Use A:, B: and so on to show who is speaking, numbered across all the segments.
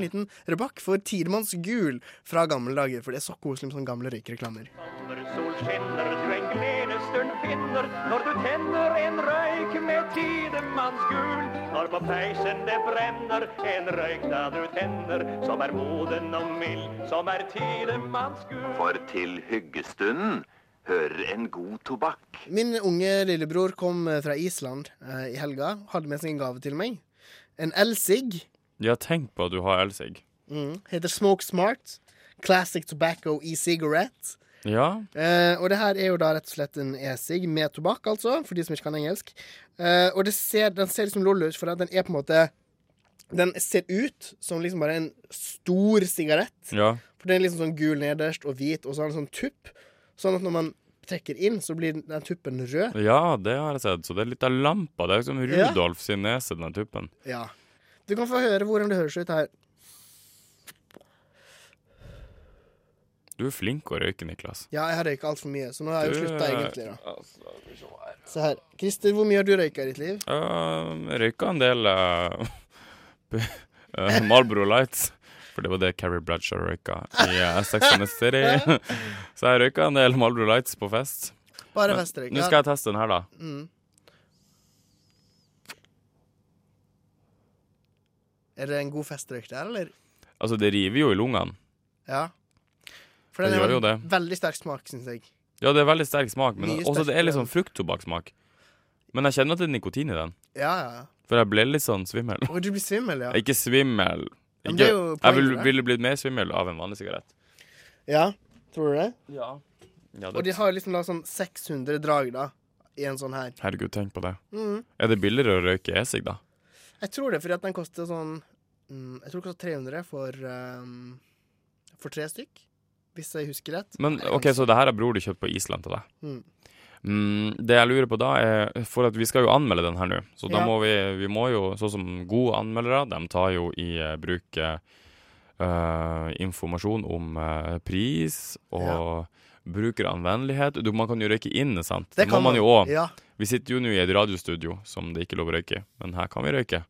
A: liten rebakk for Tidemanns Gul fra gamle dager. For det er så koselig med sånne gamle røykreklamer.
B: Sommersol skinner, du en gledesstund finner når du tenner en røyk med tidemannsgul. Når på peisen det brenner, en røyk da du tenner, som er moden og mild, som er tidemannsgul.
C: For til hyggestunden hører en god tobakk.
A: Min unge lillebror kom eh, fra Island eh, i helga. Hadde med seg en gave til meg. En elsig.
D: Ja, tenk på at du har elsig.
A: Mm. Heter Smoke Smart. Classic Tobacco E-cigarette.
D: Ja.
A: Eh, og det her er jo da rett og slett en e-sig med tobakk, altså, for de som ikke kan engelsk. Eh, og det ser, den ser liksom lol ut, for at den er på en måte Den ser ut som liksom bare en stor sigarett.
D: Ja.
A: For den er liksom sånn gul nederst og hvit, og så har den sånn tupp. Sånn at når man trekker inn, så blir den tuppen rød.
D: ja, det har jeg sett. Så det er litt av lampa. Det er som
A: Ja.
D: Rudolf sin nese, den tuppen.
A: Ja. Du kan få høre hvordan det høres ut her.
D: Du er flink å røyke, Niklas.
A: Ja, jeg har røyka altfor mye, så nå har jeg jo
D: Du,
A: slutta
D: eh,
A: egentlig, da. Se her. Christer, hvor mye har du røyka i ditt liv?
D: Uh, røyka en del eh, p- eh, Marlboro Lights. For det var det Carrie Bradshaw røyka i uh, Sex and the City. Så jeg røyka en del Marlboro Lights på fest.
A: Bare
D: Men
A: festrøyk.
D: Nå
A: Ja.
D: skal jeg teste den her, da.
A: Mm. Er det en god festrøyk der, eller?
D: Altså, det river jo i lungene.
A: Ja. For
D: Den
A: den
D: gjør jo
A: har
D: det.
A: en veldig sterk smak, syns jeg.
D: Ja, det er veldig sterk smak, men
A: Mye
D: også det
A: sterkere.
D: er litt sånn frukttobakkssmak. Men jeg kjenner at det er nikotin i den,
A: Ja, ja.
D: for jeg ble litt sånn svimmel.
A: Og du blir svimmel, ja.
D: Ikke svimmel.
A: Ja, men
D: Ikke,
A: det er jo
D: jeg vil,
A: poenget, da.
D: ville blitt mer svimmel av en vanlig sigarett.
A: Ja, tror du det?
D: Ja.
A: Og de
D: det,
A: har liksom da sånn 600 drag, da. I en sånn her.
D: herregud, tenk på det.
A: Mm.
D: Er det billigere å røyke esig, da?
A: Jeg tror det, fordi at den koster sånn mm, Jeg tror det koster 300 for ehm, For tre stykk. Hvis jeg husker rett.
D: Men
A: Nei, jeg kan
D: OK,
A: ikke-
D: så det her har bror du kjøpt på Island til deg.
A: Mm.
D: Mm, det jeg lurer på da, er For at vi skal jo anmelde den her nå, så da
A: Ja.
D: må vi Vi må jo, sånn som gode anmeldere, de tar jo i eh, bruk eh, eh, informasjon om eh, pris og brukeranvendelighet. Du, man kan jo røyke inne, sant? Det, må man jo òg.
A: Ja.
D: Vi sitter jo nå i et radiostudio som det ikke er lov å røyke i, men her kan vi røyke.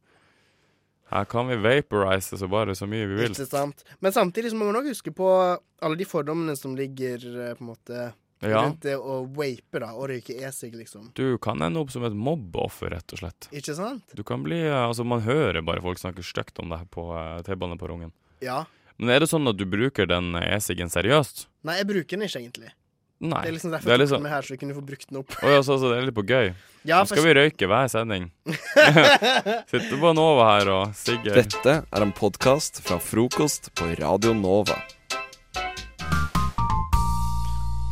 D: Her kan vi vaporize så bare så mye vi vil.
A: Ikke sant. Men samtidig så må man nok huske på alle de fordommene som ligger eh, på en måte
D: Ja.
A: rundt det å vape, da, og røyke e-sig, liksom.
D: Du kan ende opp som et mobbeoffer, rett og slett.
A: Ikke sant?
D: Du kan bli, altså Man hører bare folk snakke stygt om det her på eh, T-baneperrongen.
A: Ja.
D: Men er det sånn at du bruker den e-siggen seriøst?
A: Nei, jeg bruker den ikke, egentlig.
D: Nei.
A: Det er liksom derfor
D: det
A: jeg
D: er
A: tok
D: liksom,
A: den med her, så vi kunne få brukt den opp.
D: Å ja, så, så altså, det er litt på gøy.
A: Ja,
D: Nå skal vi røyke hver sending. Sitter på Nova her og sigger.
E: Dette er en podkast fra frokost på Radio Nova.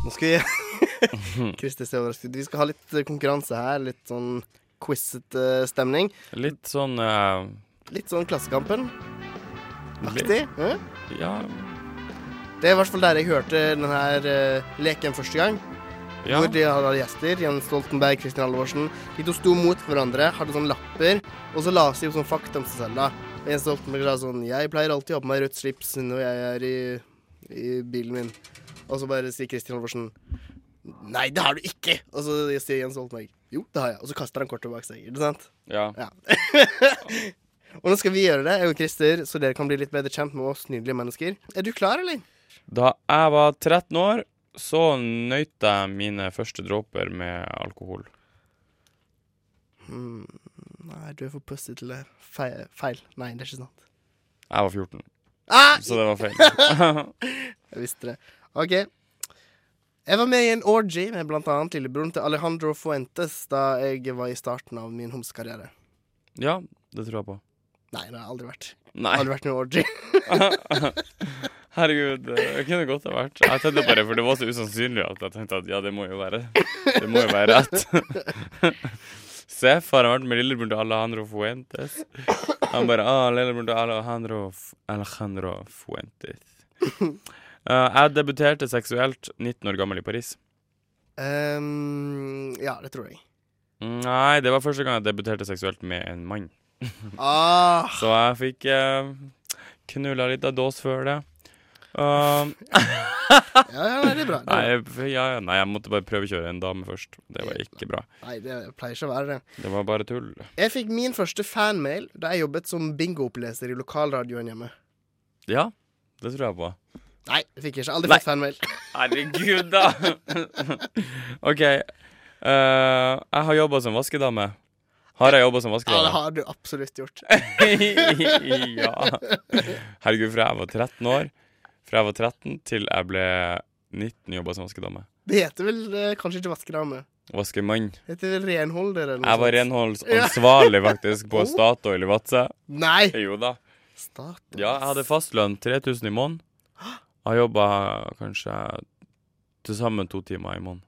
A: Nå skal vi Kristis er overrasket. Vi skal ha litt eh, konkurranse her. Litt sånn quizete stemning.
D: Litt sånn eh,
A: Litt sånn Klassekampen.
D: litt,
A: Aktig. ja.
D: Ja.
A: Det er i hvert fall der jeg hørte den her eh, leken første gang.
D: ja.
A: Hvor de hadde gjester. Jens Stoltenberg, Kristin Halvorsen. De to sto mot hverandre, hadde sånne lapper, og så la de opp sånn fakta om seg selv. da. Og Jens Stoltenberg sa sånn Jeg pleier alltid å ha på meg rødt slips når jeg er i, i bilen min. Og så bare sier Kristin Halvorsen Nei, det har du ikke! Og så sier Jens Stoltenberg Jo, det har jeg. Og så kaster han kortet bak seg. Ikke sant?
D: ja.
A: Ja. og nå skal vi gjøre det, jeg og Christer, så dere kan bli litt bedre kjent med oss nydelige mennesker. Er du klar, eller?
D: Da jeg var 13 år, så nøyt jeg mine første dråper med alkohol.
A: Mm, Nei, du er for pussig til det. Feil. feil. Nei, det er ikke sant.
D: Jeg var 14,
A: Ah,
D: så det var feil.
A: Jeg visste det. OK. Jeg var med i en orgy med blant annet lillebroren til Alejandro Fuentes da jeg var i starten av min homsekarriere.
D: Ja, det tror jeg på.
A: Nei, det har jeg aldri vært.
D: Nei.
A: Aldri vært i en orgy.
D: Herregud, det kunne godt ha vært. Jeg tenkte bare, for det var så usannsynlig at jeg tenkte at ja, det må jo være Det må jo være rett. Seff har vært med lillebroren til Alejandro Fuentes. Han bare ah, lillebroren til Alejandro, F- Alejandro Fuentes. Eh, jeg debuterte seksuelt 19 år gammel i Paris.
A: Ehm, ja, det tror jeg.
D: Nei, det var første gang jeg debuterte seksuelt med en mann.
A: Ah,
D: Så jeg fikk uh, knulla litt av dås før det. Eh,
A: ja, ja, nei, det er bra. Det er bra.
D: Nei, f- ja, ja, nei, jeg måtte bare prøvekjøre en dame først. Det var ikke bra.
A: Nei, det pleier ikke å være det.
D: Det var bare tull.
A: Jeg fikk min første fanmail da jeg jobbet som bingooppleser i lokalradioen hjemme.
D: Ja, det tror jeg på.
A: Nei, det fikk jeg ikke. Aldri
D: Nei.
A: fått fanmail.
D: Herregud, da! OK. eh, jeg har jobba som vaskedame. Har jeg jobba som
A: Ja, det
D: vaskedame?
A: har du absolutt gjort.
D: ja. Herregud, fra jeg var 13 år Fra jeg var 13 til jeg ble 19, jobba som vaskedame.
A: Det heter vel eh, kanskje ikke vaskedame.
D: Vaskemann.
A: Det heter vel renholder eller noe
D: Jeg
A: sånt.
D: var Oh.
A: Oh.
D: renholdsansvarlig, faktisk, på Statoil i Vadsø.
A: Nei!
D: Jo da.
A: Stat.
D: Ja, jeg hadde fastlønn 3000 i måneden. Jeg har jobba kanskje til sammen to timer i måneden.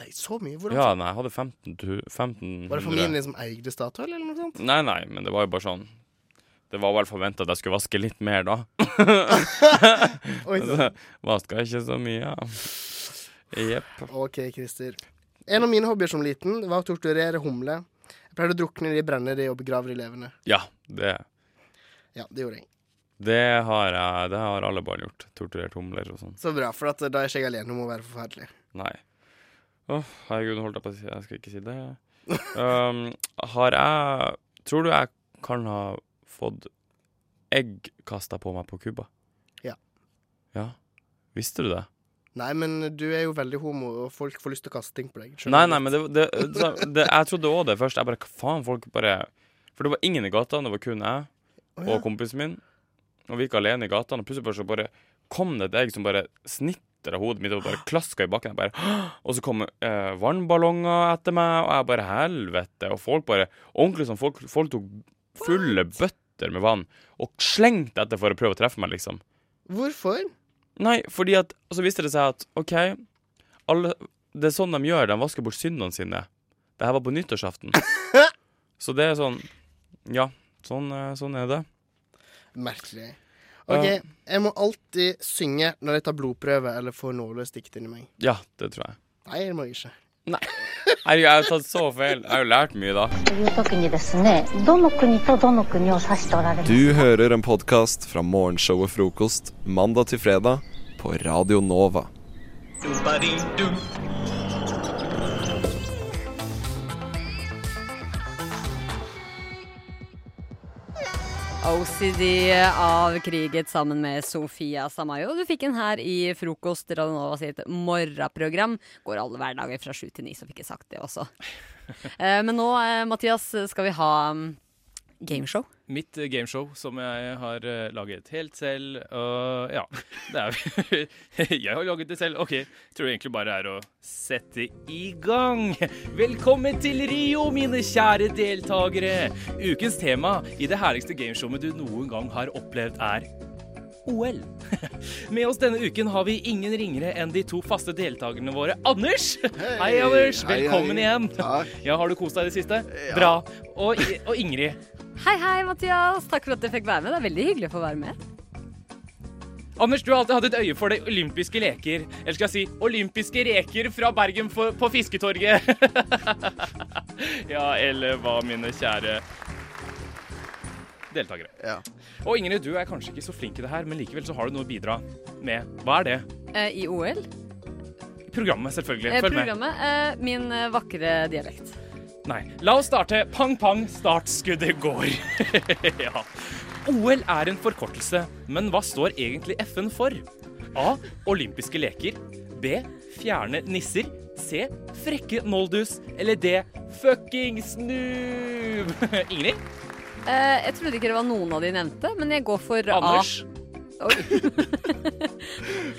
A: Nei, så mye? Hvordan?
D: Ja, nei, jeg hadde 15 tu- 1500.
A: Var det familien din som eide Statoil, eller noe sånt?
D: Nei, nei, men det var jo bare sånn Det var vel forventa at jeg skulle vaske litt mer da.
A: Oi, så.
D: Altså, Vaska ikke så mye. ja. Jepp.
A: OK, Christer. En av mine hobbyer som liten var å torturere humler. Jeg pleide å drukne de, brenne de og begrave de levende.
D: Ja, det
A: Ja, det gjorde jeg.
D: det har, jeg, det har alle barn gjort. Torturert humler og sånn.
A: Så bra, for at eh, da er ikke jeg alene om å være forferdelig.
D: Nei. Åh, herregud, nå holdt jeg på å si Jeg skal ikke si det. Um, har jeg Tror du jeg kan ha fått egg kasta på meg på Cuba?
A: Ja.
D: Ja. Visste du det?
A: Nei, men eh, du er jo veldig homo, og folk får lyst til å kaste ting på deg.
D: Nei,
A: Skjønner
D: nei,
A: du?
D: men det, det, eh, det, det Jeg trodde òg det først. Jeg bare, hva faen, folk bare For det var ingen i gata, det var kun jeg
A: Å, ja.
D: og kompisen min. Og vi gikk alene i gata, og plutselig bare så bare kom det et egg som bare snitra hodet mitt og bare klaska i bakken. Jeg bare, «Hå!» og så kom eh, vannballonger etter meg, og jeg bare helvete. Og folk bare Ordentlig sånn, folk, folk tok fulle bøtter med vann og slengte etter for å prøve å treffe meg, liksom.
A: Hvorfor?
D: Nei, fordi at Og så viste det seg at OK, alle Det er sånn de gjør. De vasker bort syndene sine. Det her var på nyttårsaften. Så det er sånn Ja, sånn, eh, sånn er det. Eh,
A: Merkelig. OK,
D: Ja.
A: jeg må alltid synge når jeg tar blodprøve eller får nålestikt inni meg.
D: Ja, det tror jeg.
A: Nei, det må jeg ikke.
D: Herregud, jeg har tatt så feil. Jeg har jo lært mye, da.
F: という時にですねどの国とどの国を指しておられる
E: Du hører en podkast fra morgenshowet Frokost mandag til fredag på Radio Nova.
G: OCD av Kriget sammen med Sofia Samayo. Du fikk en her i frokost. Radionova sitt morgenprogram. Går alle hverdager fra sju til ni, så fikk jeg sagt det også. Eh, Men nå, eh, Mathias, skal vi ha mm, gameshow.
H: Mitt eh, gameshow som jeg har eh, laget helt selv. Og ja, det er Jeg har laget det selv. OK, tror jeg egentlig bare er å sette i gang. Velkommen til Rio, mine kjære deltakere. Ukens tema i det herligste gameshowet du noen gang har opplevd, er OL. Med oss denne uken har vi ingen ringere enn de to faste deltakerne våre. Anders! Hei, Anders.
A: Hei, hei.
H: Velkommen igjen. Ja, Har du kost deg i det siste? Bra. Og, og Ingrid.
G: Hei, hei, Mathias. Takk for at jeg fikk være med. Det er veldig hyggelig å få være med.
H: Anders, du har alltid hatt et øye for de olympiske leker. Eller skal jeg si olympiske reker fra Bergen for, på Fisketorget. ja, eller hva, mine kjære deltakere.
A: Ja.
H: Og Ingrid, du er kanskje ikke så flink i det her, men likevel så har du noe å bidra med. Hva er det?
G: Eh, I OL.
H: Programmet, selvfølgelig.
G: Eh,
H: Følg med.
G: Programmet eh, Min eh, vakre dialekt.
H: Nei. La oss starte. Pang, pang, startskuddet går. ja. OL er en forkortelse, men hva står egentlig FN for? A. Olympiske leker. B. Fjerne nisser. C. Frekke noldus. Eller D. Fucking snub. Ingrid?
G: Eh, Jeg trodde ikke det var noen av de nevnte, men jeg går for
H: Anders?
G: A. Oi.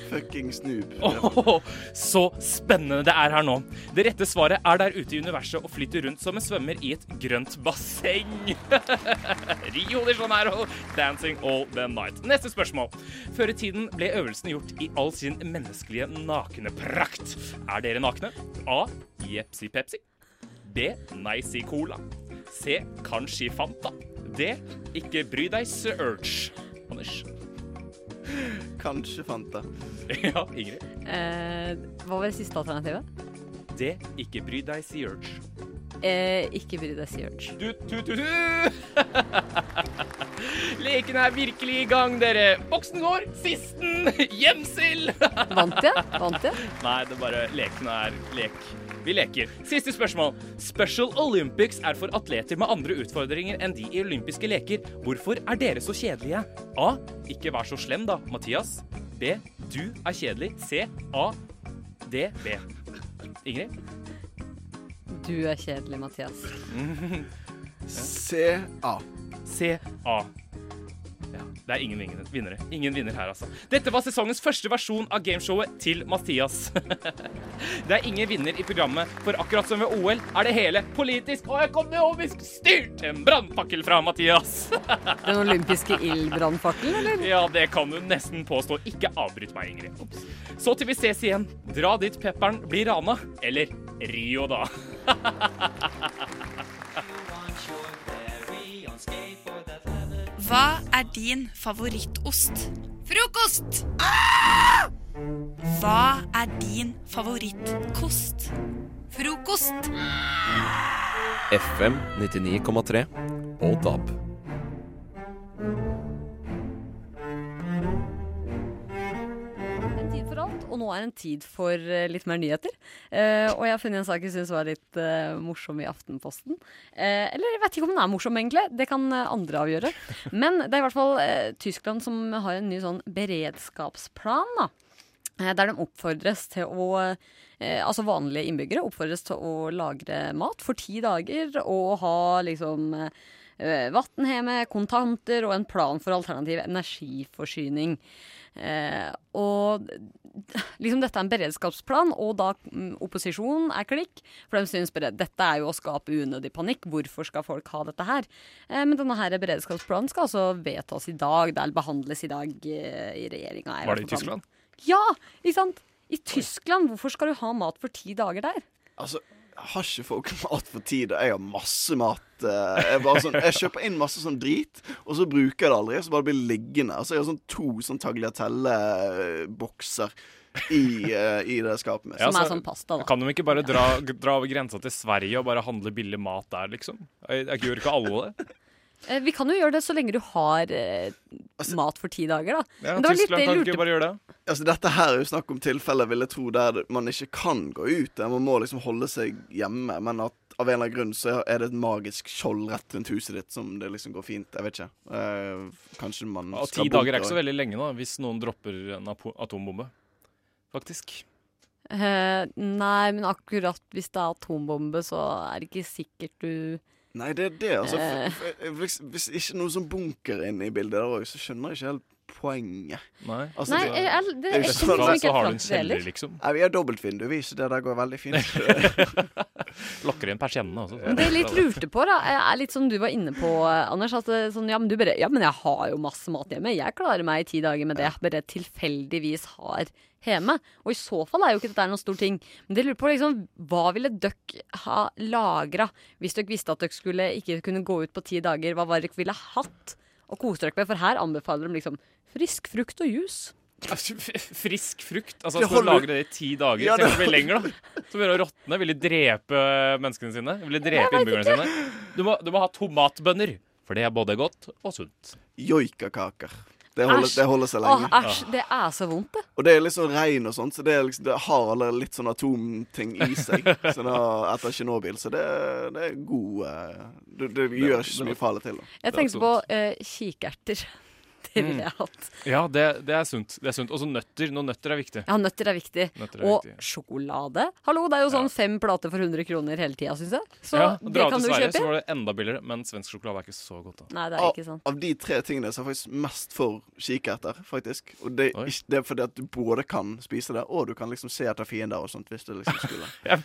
I: Fucking snoop.
H: Åh, så spennende det er her nå. Det rette svaret er der ute i universet og flyter rundt som en svømmer i et grønt basseng. Rio de Janeiro, dancing all the night. Neste spørsmål. Før i tiden ble øvelsen gjort i all sin menneskelige nakenprakt. Er dere nakne? A. Jepsi Pepsi. B. Nei, si cola. C. Kanskje Fanta. D. Ikke bry deg, Surge. Anders.
I: Kanskje Fanta.
H: Ja, Ingrid.
G: Eh, Hva var det siste alternativet?
H: D. Ikke bry deg, Surge.
G: Eh, ikke bry deg, sier Urge.
H: Du, tu, tu, tu. Leken er virkelig i gang, dere. Boksen går, sisten, gjemsel.
G: Vant jeg? Vant jeg?
H: Nei, det er bare leken er lek. Vi leker. Siste spørsmål. Special Olympics er for atleter med andre utfordringer enn de i olympiske leker. Hvorfor er dere så kjedelige? A. Ikke vær så slem da, Mathias. B. Du er kjedelig. C. A. D. B. Ingrid?
G: Du er kjedelig, Mathias.
A: C-A.
H: C. A. Ja, det er ingen vinnere- vinnere. Ingen vinner her, altså. Dette var sesongens første versjon av gameshowet til Mathias. Det er ingen vinner i programmet, for akkurat som ved OL er det hele politisk og økonomisk styrt! En brannfakkel fra Mathias.
G: Den olympiske ildbrannfakkelen, eller?
H: Ja, det kan du nesten påstå. Ikke avbryt meg, Ingrid. Ops. Så til vi ses igjen. Dra dit pepperen blir rana. Eller Rio, da.
I: Hva er din favorittost? Frokost! Hva er din favorittkost? Frokost!
E: FM 99,3 og DAB.
G: En tid for alt, og nå er en tid for eh, litt mer nyheter. Eh, og jeg har funnet en sak jeg syns var litt eh, morsom i Aftenposten. Eh, eller jeg vet ikke om den er morsom, egentlig. Det kan eh, andre avgjøre. Men det er i hvert fall eh, Tyskland som har en ny sånn beredskapsplan, da. Eh, Der de oppfordres til å eh, Altså vanlige innbyggere oppfordres til å lagre mat for ti dager og ha liksom eh, vann hjemme, kontanter og en plan for alternativ energiforsyning. Eh, og d- liksom dette er en beredskapsplan, og da mm, opposisjonen er klikk. For de syns bare dette er jo å skape unødig panikk, hvorfor skal folk ha dette her? Eh, men denne her beredskapsplanen skal altså vedtas i dag, det er- behandles i dag eh, i regjeringa.
H: Var det i Tyskland?
G: Ja, ikke sant? I Tyskland, hvorfor skal du ha mat for ti dager der?
J: Altså, har ikke folk mat for tid? og Jeg har masse mat. eh, Jeg, bare sånn, jeg kjøper inn masse sånn drit, og så bruker jeg det aldri. Så bare blir det liggende. Altså, jeg har sånn to sånn tagliatelle-bokser i, eh, i det skapet mitt.
H: Ja,
G: Som er
H: så-
G: sånn pasta, da.
H: Kan de ikke bare dra, dra over grensa til Sverige og bare handle billig mat der, liksom? Jeg, jeg gjør ikke alle det.
G: Eh, Vi kan jo gjøre det så lenge du har eh, mat for ti dager, da.
H: Altså, Ja,
G: Men det var litt det
H: Tyskland
G: jeg
H: kan ikke
G: lurte på.
H: bare gjøre det.
J: Altså, dette her er jo snakk om tilfeller vil jeg tro, der man ikke kan gå ut. Der man må liksom holde seg hjemme. Men at av en eller annen grunn så er det et magisk skjold rett rundt huset ditt som det liksom går fint. Jeg vet ikke. Eh, kanskje man
H: Og ti dager er ikke så veldig lenge nå, hvis noen dropper en apo- atombombe. Faktisk.
G: Eh, nei, men akkurat hvis det er atombombe, så er det ikke sikkert du
J: Nei, det er det, altså.
G: Eh.
J: F f hvis, hvis ikke noe som bunker inn i bildet der òg, så skjønner jeg ikke helt poenget.
H: Nei.
J: Altså,
G: Nei,
J: det-
G: jeg, jeg, det
J: er
G: er
J: jo
G: ikke
J: sånn at
G: noe som
H: Da
G: ikke
H: så
G: er
H: har du en
G: praktisk
H: kjeller,
G: heller.
H: liksom.
J: Nei, vi har dobbeltvindu, vi, så det der går veldig fint.
H: Lokker inn persiennene også.
G: Men det jeg litt lurte på, da, er litt som du var inne på, eh, Anders. At eh, sånn, ja, men du bare Ja, men jeg har jo masse mat hjemme. Jeg klarer meg i ti dager med det jeg bare tilfeldigvis har hjemme. Og i så fall er jo ikke dette noen stor ting. Men det jeg lurer på liksom, hva ville dere ha lagra hvis dere visste at dere skulle ikke kunne gå ut på ti dager? Hva var det dere ville hatt å kose dere med? For her anbefaler de liksom frisk frukt og juice.
H: altså. Frisk frukt. Altså,
J: Det
H: skal du
J: holder-
H: lagre det i ti dager,
J: Ja,
H: så
J: det-
H: det blir lenger, da. Så begynner det å råtne. Vil de drepe menneskene sine? Vil de drepe innbyggerne sine? Du må, du må ha tomatbønner, for det er både godt og sunt.
J: Joikakaker. Det holder,
G: Æsj.
J: det holder seg
G: Åh,
J: lenge.
G: æsj, det er så vondt, det.
J: Og det er litt sånn regn og sånt, så det, er liksom, det har allerede litt sånn atomting i seg. Så da, etter Tsjernobyl, så det, det er god eh, Det, det gjør ikke så mye farlig til. Da.
G: Jeg tenkte på eh, kikerter. Det
H: Mm.
G: ville jeg hatt.
H: Ja, det, det er sunt. Det er sunt. Også nøtter. Noen nøtter er viktig.
G: Ja, nøtter er viktig.
H: Nøtter er
G: og
H: viktig.
G: sjokolade. Hallo, det er jo sånn fem plater for 100 kroner hele tida, syns jeg. Så
H: ja,
G: det kan du
H: Sverige, så
G: kjøpe.
H: var det enda billigere, men svensk sjokolade er ikke så godt, da.
G: Nei, det er
J: Av,
G: ikke sant.
J: av de tre tingene så er jeg faktisk mest for kikerter, faktisk. Og det, er
H: Oi.
J: ikke, det er fordi at du både kan spise det, og du kan liksom se etter fiender og sånt, hvis du liksom skulle.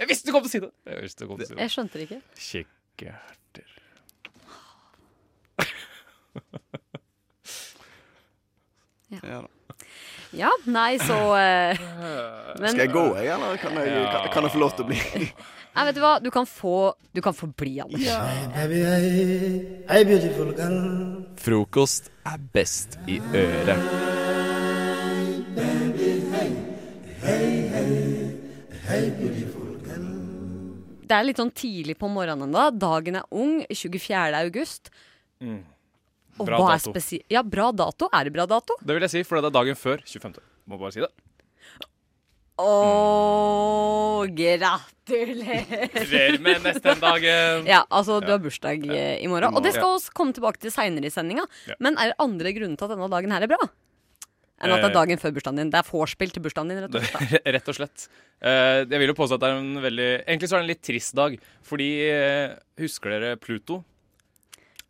H: Jeg visste du kom til å si det! Jeg visste du kom til å si det.
G: Jeg skjønte det ikke.
H: Kikkerter.
J: Ja, da.
G: Ja, nei, så eh, men,
J: Skal jeg gå, jeg, eller kan jeg, kan, kan jeg få lov til å bli
G: Nei, vet du hva? Du kan få, du kan få bli, Anders.
E: Frokost er best i øret.
G: Det er litt sånn tidlig på morgenen ennå. Dagen er ung. 24. august. Og
H: Mm. Bra
G: hva er
H: dato.
G: spesi- Ja, bra dato. Er det bra dato?
H: Det vil jeg si, for det er dagen før 25. Må bare si det.
G: Å,
H: Mm.
G: gratulerer!
H: Gratulerer med nesten dagen.
G: Ja, altså du har bursdag eh, i morgen. Og det skal
H: Ja.
G: også komme tilbake til seinere i sendinga.
H: Ja.
G: Men er det andre grunner til at denne dagen her er bra? Enn at det er
H: Eh.
G: dagen før bursdagen din. Det er vorspiel til bursdagen din, rett og slett.
H: Rett og slett. Eh, jeg vil jo påstå at det er en veldig Egentlig så er det en litt trist dag, fordi eh, Husker dere Pluto?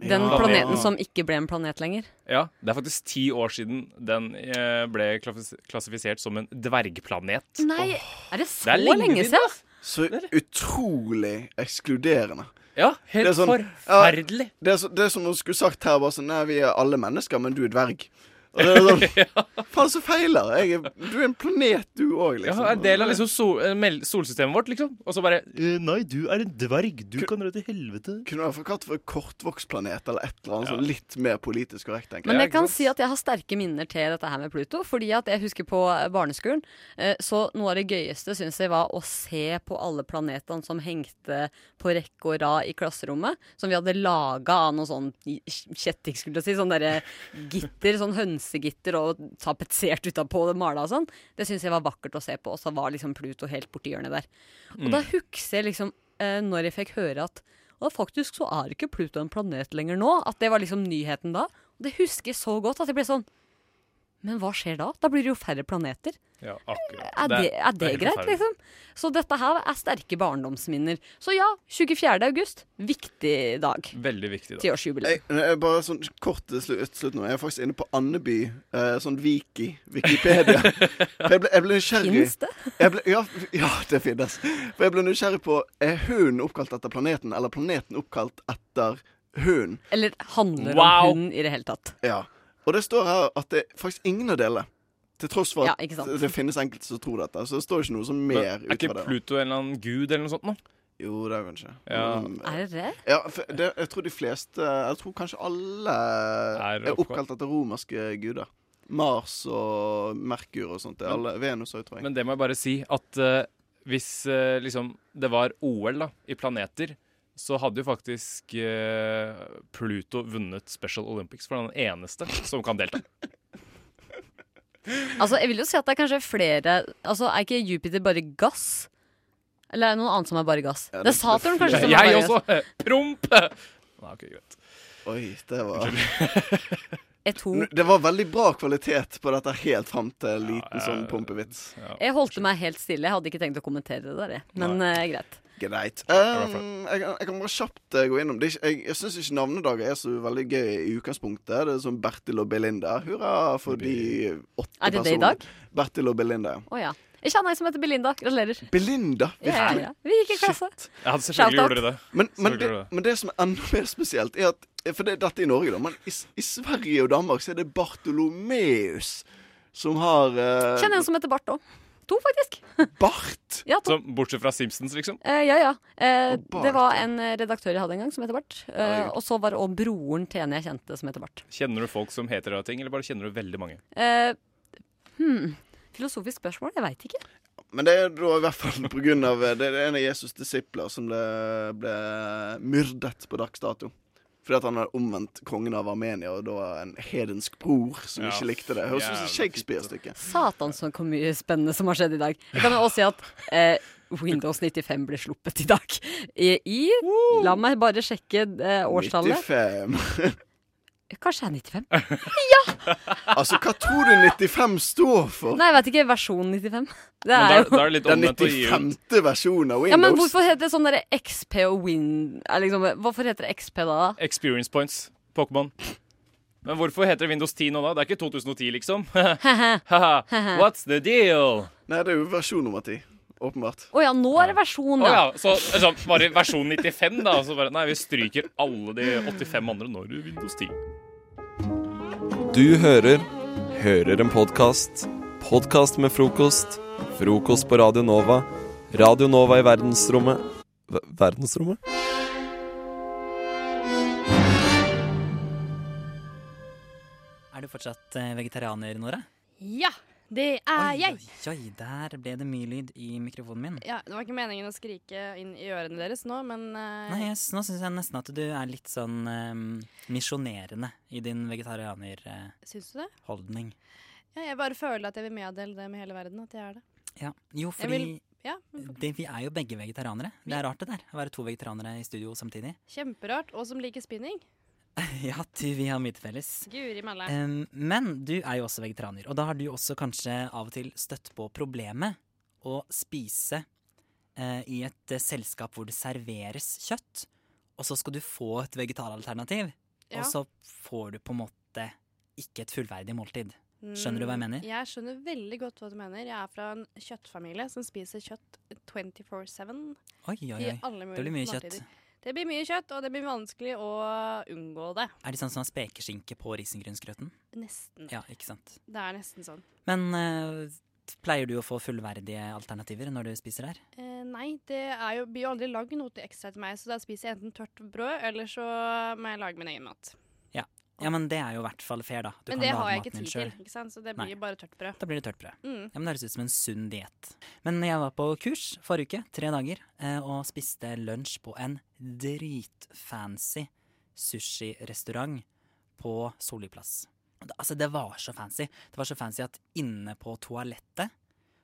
G: Den
H: Ja.
G: planeten som ikke ble en planet lenger.
H: Ja, Det er faktisk ti år siden den eh, ble klassif- klassifisert som en dvergplanet.
G: Nei, er
H: Det
G: det så
H: er lenge
G: lenge
H: siden,
G: siden?
J: Så utrolig ekskluderende.
H: Ja, helt
J: Det er sånn-
H: forferdelig.
J: Ja, det, er så, det er som hun skulle sagt her, bare sånn Nei, vi er alle mennesker, men du er dverg. Og det er sånn Faen, så feiler jeg. er- Du er en planet, du òg,
H: Ja,
J: liksom.
H: er en del av liksom sol, eh, mel- solsystemet vårt, liksom. Og så bare eh, Nei, du er en dverg. Du kan dra til helvete.
J: Kunne vært kalt for kortvokstplanet eller et eller annet sånn litt mer politisk korrekt, tenker
G: Men jeg kan si at jeg har sterke minner til dette her med Pluto. Fordi at jeg husker på eh, barneskolen, eh, så noe av det gøyeste syns jeg var å se på alle planetene som hengte på rekke og rad i klasserommet. Som vi hadde laga av noe sånn i- kjetting, skulle jeg si. Sånn derre gitter, sånn hønsegitter og tapetsert utapå det mala og sånn. Det syns jeg var vakkert å se på. Og så var liksom Pluto helt borti hjørnet der. Og da
K: Mm.
G: husker jeg liksom eh, når jeg fikk høre at og faktisk så er ikke Pluto en planet lenger nå. At det var liksom nyheten da. Og det husker jeg så godt at jeg ble sånn Men hva skjer da? Da blir det jo færre planeter.
H: Ja, akkurat.
G: Eh, Er det, er det,
H: helt
G: greit,
H: forferdelig.
G: liksom? Så dette her er sterke barndomsminner. Så ja, 24. august. Viktig dag.
H: Veldig viktig dag.
J: Jeg, jeg, bare sånn kort til slutt, til slutt nå. Jeg er faktisk inne på Andeby. eh, sånn Viki. Wikipedia. For jeg ble, jeg ble nysgjerrig.
G: Finnes det?
J: Jeg ble, ja, f- ja, det finnes. For jeg ble nysgjerrig på Er hunden oppkalt etter planeten, eller planeten oppkalt etter hunden?
G: Eller handler
J: Wow.
G: om hunden i det hele tatt.
J: Ja. Og det står her at det er faktisk ingen av delene. Til tross for
G: Ja,
J: at
G: ikke sant.
J: det finnes enkelte som tror dette. Så det står ikke noe som
H: Men
J: mer
H: Er ikke
J: utover det.
H: Pluto en eller annen gud eller noe sånt nå?
J: Jo, det er kanskje.
H: Ja.
J: Mm.
G: Er det det?
J: Ja, for det, jeg tror de fleste Jeg tror kanskje alle er, oppkalt etter romerske guder. Mars og Merkur og sånt. Det er alle, Venus òg, tror jeg.
H: Men det må jeg bare si at eh, hvis eh, liksom det var OL da, i planeter, så hadde jo faktisk eh, Pluto vunnet Special Olympics, for han er den eneste som kan delta.
G: Altså, jeg vil jo si at det er kanskje flere Altså, er ikke Jupiter bare gass? Eller er det noen annet som er bare gass? det, er Saturn kanskje som er
H: Jeg
G: bare gass.
H: også! eh, Promp! Nei, ok, greit.
J: Oi, det var
G: Jeg tror-
J: Det var veldig bra kvalitet på dette helt fram til en liten sånn pumpevits.
G: Jeg holdt meg helt stille. Jeg hadde ikke tenkt å kommentere det der, jeg. Men eh, greit.
J: Greit.
G: Ja,
J: Um, jeg, kan- jeg kan bare kjapt eh, gå innom det. er ikke- Jeg, jeg syns ikke navnedager er så veldig gøy i utgangspunktet. Det er som Bertil og Belinda. Hurra for de åtte personene.
G: Er det det i dag?
J: Bertil og Belinda, ja.
G: Å ja. Jeg kjenner ei som heter Belinda. Gratulerer.
J: Belinda,
G: Ja, ja,
J: virkelig.
G: ja. Vi gikk i klasse.
H: Ja,
G: selvfølgelig Shout-out. gjorde dere det.
J: Men, men,
H: Selvfølgelig
J: det,
H: gjorde dere
J: men det som er enda mer spesielt, er at For det, dette er i Norge, da. Men i, S- i Sverige og Danmark så er det Bartolomeus som har eh,
G: Kjenner en som heter Bart òg. To, faktisk.
J: Bart?
G: Ja, to.
H: Så, bortsett fra Simpsons, liksom.
G: Eh, ja, ja. Eh,
H: Bart,
G: det var en eh, redaktør jeg hadde en gang som heter Bart. Eh,
H: Herregud.
G: og så var det òg broren til en jeg kjente som heter Bart.
H: Kjenner du folk som heter rare ting, eller bare kjenner du veldig mange?
G: Eh, hmm. Filosofisk spørsmål? Jeg veit ikke.
J: Men det er da i hvert fall på grunn av eh, Det er en av Jesus' disipler som ble, ble myrdet på dags dato. Fordi at han hadde omvendt kongen av Armenia, og da en hedensk bror som
G: Ja,
J: ikke likte det. Høres ut som
G: jævla
J: Shakespeare-stykket.
G: Satan, så mye spennende som har skjedd i dag. Jeg kan jo også si at eh, Windows 95 ble sluppet i dag. I, i La meg bare sjekke eh, årstallet.
J: 95.
G: Kanskje det er 95?
J: altså, hva tror du 95 står for?
G: Nei, jeg veit ikke. Versjon 95. Det
J: Men
G: er
J: da-
G: jo
J: da er det litt Den omvendt å gi ut. 95. versjonen av Windows.
G: Ja, men hvorfor heter det sånn derre XP og Win... Er liksom, hvorfor heter det XP da? da?
H: Experience points. Pokémon. Men hvorfor heter det Windows 10 nå, da? Det er ikke 2010, liksom. Haha. What's the deal?
J: Nei, det er jo versjon nummer 10. Åpenbart.
G: Å ja, nå er det versjon,
H: Å ja,
G: Sånn, ja.
H: så liksom, bare versjon 95, da. og Så bare, nei, vi stryker alle de 85 andre når du Windows 10.
E: Du hører Hører en podkast. Podkast med frokost. Frokost på Radio Nova. Radio Nova i verdensrommet Ver- Verdensrommet?
L: Er du fortsatt eh, vegetarianer, Nora?
K: Ja, det er jeg.
L: Oi, der ble det mye lyd i mikrofonen min.
K: Ja, det var ikke meningen å skrike inn i ørene deres nå, men eh,
L: Nei, jeg, s- nå syns jeg nesten at du er litt sånn eh, misjonerende i din vegetarianerholdning.
K: Syns du det?
L: holdning
K: Ja, jeg bare føler at jeg vil meddele det med hele verden at jeg er det.
L: Ja. Jo,
K: Jeg
L: fordi
K: vil- ja, men forklar.
L: det, vi er jo begge vegetarianere. Det er rart det der, å være to vegetarianere i studio samtidig.
K: Kjemperart. Og som liker spinning.
L: Ja, du, vi har mye til felles.
K: Guri malla.
L: Em, men du er jo også vegetarianer, og da har du også kanskje av og til støtt på problemet å spise eh, i et eh, selskap hvor det serveres kjøtt, og så skal du få et vegetaralternativ,
K: Ja.
L: og så får du på en måte ikke et fullverdig måltid. Skjønner du hva jeg
K: Mm,
L: mener?
K: Jeg skjønner veldig godt hva du mener. Jeg er fra en kjøttfamilie som spiser kjøtt 24-7.
L: Oi, oi,
K: i
L: oi.
K: alle
L: Det blir mye
K: mulige
L: kjøtt.
K: måltider. Det blir mye kjøtt, og det blir vanskelig å unngå det.
L: Er det sånn som har spekeskinke på risengrynsgrøten?
K: Nesten.
L: Ja, ikke sant.
K: Det er nesten sånn.
L: Men eh, pleier du å få fullverdige alternativer når du spiser her?
K: Eh, nei, det er jo, blir jo aldri lagd noe til ekstra til meg, så da spiser jeg enten tørt brød, eller så må jeg lage min egen mat.
L: Ja. ja, men det er jo i hvert fall fair, da. Du
K: Men
L: kan
K: det
L: lage
K: har jeg ikke
L: maten din
K: tid
L: selv.
K: til, ikke sant? så det blir
L: Nei.
K: jo bare tørt brød.
L: Da blir det tørt brød.
K: Mm.
L: Ja, men Det høres ut som en sunn diett. Men jeg var på kurs forrige uke, tre dager, eh, og spiste lunsj på en dritfancy sushirestaurant på Solli plass. Og det- Altså, det var så fancy. Det var så fancy at inne på toalettet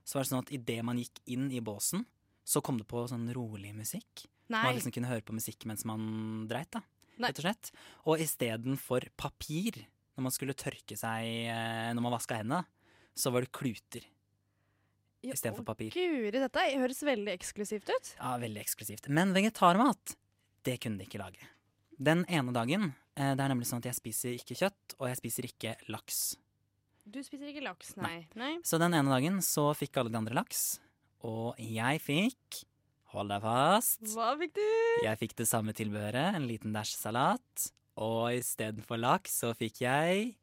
L: så var det sånn at idet man gikk inn i båsen, så kom det på sånn rolig musikk.
K: Nei.
L: Man liksom kunne høre på musikk mens man dreit, da.
K: Nei.
L: Rett og slett. Og istedenfor papir, når man skulle tørke seg eh, når man vaska hendene, så var det kluter.
K: Ja, å,
L: Istedenfor papir.
K: Guri, dette høres veldig eksklusivt ut.
L: Ja, veldig eksklusivt. Men vegetarmat, det kunne de ikke lage. Den ene dagen eh, Det er nemlig sånn at jeg spiser ikke kjøtt, og jeg spiser ikke laks.
K: Du spiser ikke laks, nei. nei.
L: Så den ene dagen så fikk alle de andre laks, og jeg fikk Hold deg fast.
K: Hva fikk du?
L: Jeg fikk det samme tilbehøret, en liten dæsjsalat. Og istedenfor laks så fikk jeg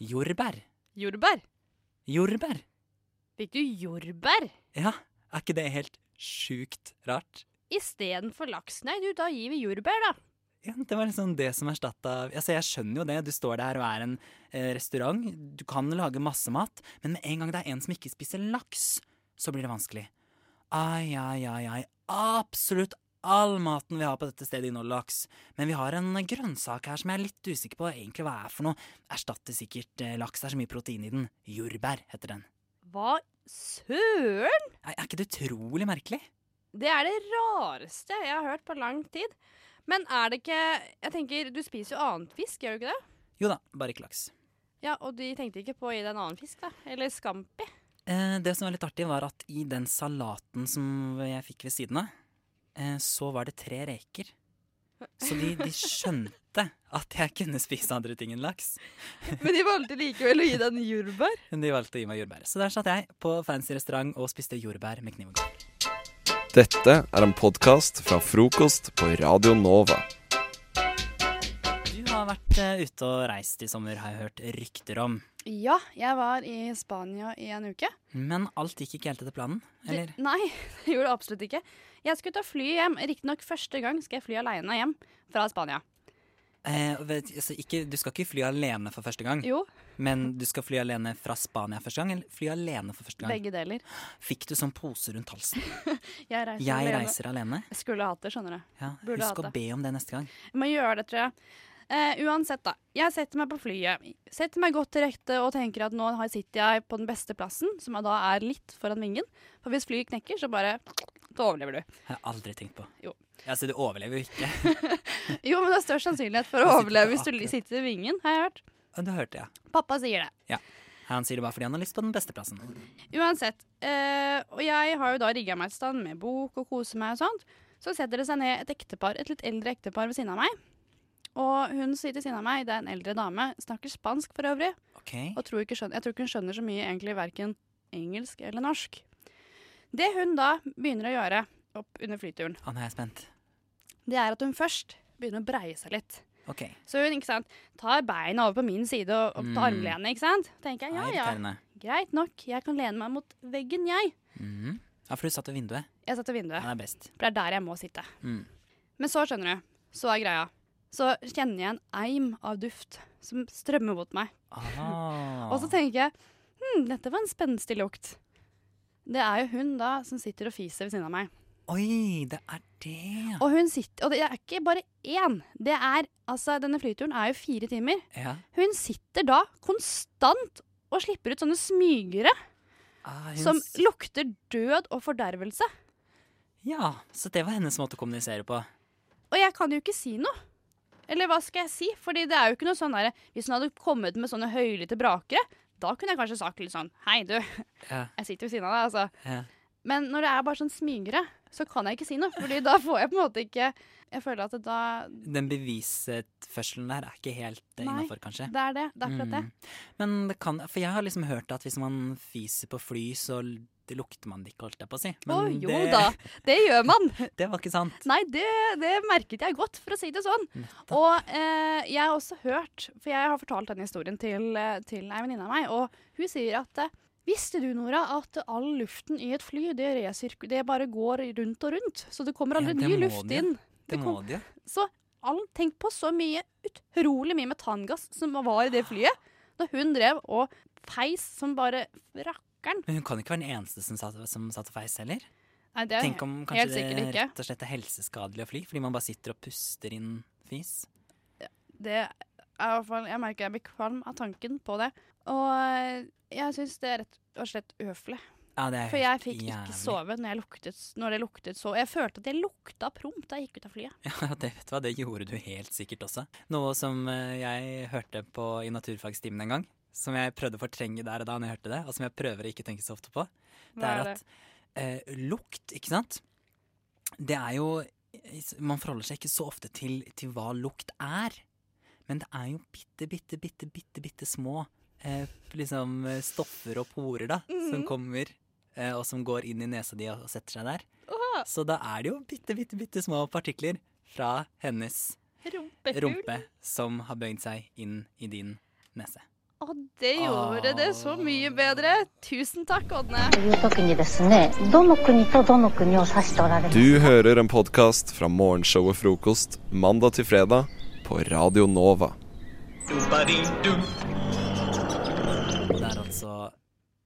L: jordbær.
K: Jordbær.
L: Jordbær!
K: Fikk du jordbær
L: Ja, er ikke det helt sjukt rart?
K: istedenfor laks? Nei, du, da gir vi jordbær, da.
L: Ja, det var liksom det som erstatta Altså, jeg skjønner jo det. Du står der og er en eh, restaurant. Du kan lage masse mat, men med en gang det er en som ikke spiser laks, så blir det vanskelig. Ai, ai, ai, ai. Absolutt all maten vi har på dette stedet, inneholder laks. Men vi har en grønnsak her som jeg er litt usikker på egentlig hva er for noe. Erstatter sikkert eh, laks. Det er så mye protein i den. Jordbær heter den.
K: Hva søren?
L: Er, er ikke det utrolig merkelig?
K: Det er det rareste jeg har hørt på lang tid. Men er det ikke Jeg tenker, du spiser jo annen fisk, gjør du ikke det?
L: Jo da, bare ikke laks.
K: Ja, og de tenkte ikke på å gi deg en annen fisk, da? Eller scampi?
L: Eh, det som var litt artig, var at i den salaten som jeg fikk ved siden av, eh, så var det tre reker. Så de, de skjønte at jeg kunne spise andre ting enn laks.
K: Men de valgte likevel å gi deg en jordbær.
L: Men de valgte å gi meg jordbær. Så der satt jeg på fancy restaurant og spiste jordbær med kniv og gaffel.
E: Dette er en podkast fra frokost på Radio Nova.
L: Du har vært eh, ute og reist i sommer, har jeg hørt rykter om.
K: Ja, jeg var i Spania i en uke.
L: Men alt gikk ikke helt etter planen, eller?
K: Det, nei, det gjorde det absolutt ikke. Jeg skulle ta fly hjem. Riktignok første gang skal jeg fly aleine hjem fra Spania.
L: Eh, vet, altså ikke, du skal ikke fly alene for første gang.
K: Jo.
L: Men du skal fly alene fra Spania første gang, eller fly alene for første gang?
K: Begge deler.
L: Fikk du sånn pose rundt halsen?
K: Jeg reiser
L: Jeg
K: alene.
L: reiser alene.
K: Jeg Skulle hatt det, skjønner du.
L: Ja,
K: Burde
L: husk
K: hatt
L: å
K: det.
L: be om det neste gang.
K: Jeg må gjøre det, tror jeg. Eh, uansett, da. Jeg setter meg på flyet. Setter meg godt til rette og tenker at nå har- sitter jeg på den beste plassen, som da er litt foran vingen. For hvis flyet knekker, så bare Da overlever du.
L: Jeg har jeg aldri tenkt på.
K: Jo.
L: Altså, du overlever jo ikke.
K: Jo, men det er størst sannsynlighet for
L: Jeg
K: å
L: sitter
K: overleve
L: på
K: hvis du li- sitter i vingen, har jeg hørt.
L: Ja, Du hørte, ja.
K: Pappa sier det.
L: ja. Han sier det bare fordi han har lyst på den beste plassen.
K: Uansett. Eh, og jeg har jo da rigga meg et stand med bok og koser meg og sånt. Så setter det seg ned et ektepar, et litt eldre ektepar ved siden av meg. Og hun som sitter ved siden av meg, det er en eldre dame. Snakker spansk for øvrig.
L: Ok.
K: Og tror ikke skjønner, jeg tror ikke hun skjønner så mye egentlig verken engelsk eller norsk. Det hun da begynner å gjøre opp under flyturen,
L: Ah, nå er jeg spent.
K: det er at hun først begynner å breie seg litt.
L: Ok.
K: Så hun ikke sant, tar beina over på min side og opp til
L: Mm.
K: armlenet, ikke sant. Tenker jeg, ja ja,
L: Irriterende.
K: greit nok, jeg kan lene meg mot veggen, jeg.
L: Mhm. Ja, for du satt ved vinduet.
K: Jeg setter
L: Ja, det
K: vinduet.
L: er best.
K: For det er der jeg må sitte.
L: Mm.
K: Men så skjønner du, så er greia. Så kjenner jeg en eim av duft som strømmer mot meg.
L: Ah.
K: Og så tenker jeg hm, dette var en spenstig lukt. Det er jo hun da som sitter og fiser ved siden av meg.
L: Oi, det er det.
K: Og hun sitter, og det er ikke bare én. Det er, altså, denne flyturen er jo fire timer.
L: Ja.
K: Hun sitter da konstant og slipper ut sånne smygere.
L: Ah, hun
K: som
L: s-
K: lukter død og fordervelse.
L: Ja, så det var hennes måte å kommunisere på.
K: Og jeg kan jo ikke si noe. Eller hva skal jeg si? Fordi det er jo ikke noe sånn derre Hvis hun hadde kommet med sånne høylytte brakere, da kunne jeg kanskje sagt litt sånn Hei, du.
L: Ja.
K: Jeg sitter ved siden av deg, altså.
L: Ja.
K: Men når det er bare sånn smygere, så kan jeg ikke si noe. Fordi da får jeg på en måte ikke Jeg føler at det da
L: Den bevisførselen der er ikke helt
K: Nei,
L: innafor, kanskje. Mm.
K: det er det. Det er akkurat det.
L: Men det kan For jeg har liksom hørt at hvis man fiser på fly, så l- det lukter man det ikke, holdt jeg på å si.
K: Å jo da, det gjør man.
L: Det var ikke sant.
K: Nei, det, det merket jeg godt, for å si det sånn. Og eh, jeg har også hørt, for jeg har fortalt denne historien til, eh, til ei venninne av meg, og hun sier at eh, Visste du, Nora, at all luften i et fly det, resirku- det bare går rundt og rundt? Så det kommer aldri ny luft inn.
L: Det må de jo.
K: Så all, tenk på så mye, utrolig mye metangass som var i det flyet. Da hun drev og feis som bare rakkeren.
L: Men hun kan ikke være den eneste som satt, som satt og feis heller.
K: Nei, det er
L: Tenk om
K: helt
L: kanskje det
K: sikkert ikke.
L: rett og slett er helseskadelig å fly, fordi man bare sitter og puster inn fis.
K: Det er i hvert fall Jeg merker jeg blir kvalm av tanken på det. Og eh, jeg syns det er rett og slett uhøflig.
L: Ja, det er
K: For jeg
L: helt
K: fikk
L: jævlig.
K: ikke sove når, jeg luktet, når det luktet så Jeg følte at jeg lukta promp da jeg gikk ut av flyet.
L: Ja, det vet du hva, det gjorde du helt sikkert også. Noe som eh, jeg hørte på i naturfagstimen en gang, som jeg prøvde å fortrenge der og da når jeg hørte det, og som jeg prøver å ikke tenke så ofte på, det
M: Hva
L: er
M: er
L: at eh, lukt, ikke sant? Det er jo Man forholder seg ikke så ofte til, til hva lukt er, men det er jo bitte, bitte, bitte, bitte, bitte små eh, liksom eh, stoffer og porer, da, som
M: Mhm.
L: kommer, eh, og som går inn i nesa di og og setter seg der.
K: Åh,
L: Så da er det jo bitte, bitte, bitte små partikler fra hennes
K: Rumpehull.
L: rumpe som har bøyd seg inn i din nese.
K: Og det gjorde det så mye bedre. Tusen takk, Ådne.
F: という時にですねどの国とどの国を指しておられます
E: Du hører en podkast fra morgenshowet Frokost mandag til fredag på Radio Nova.
L: Det er altså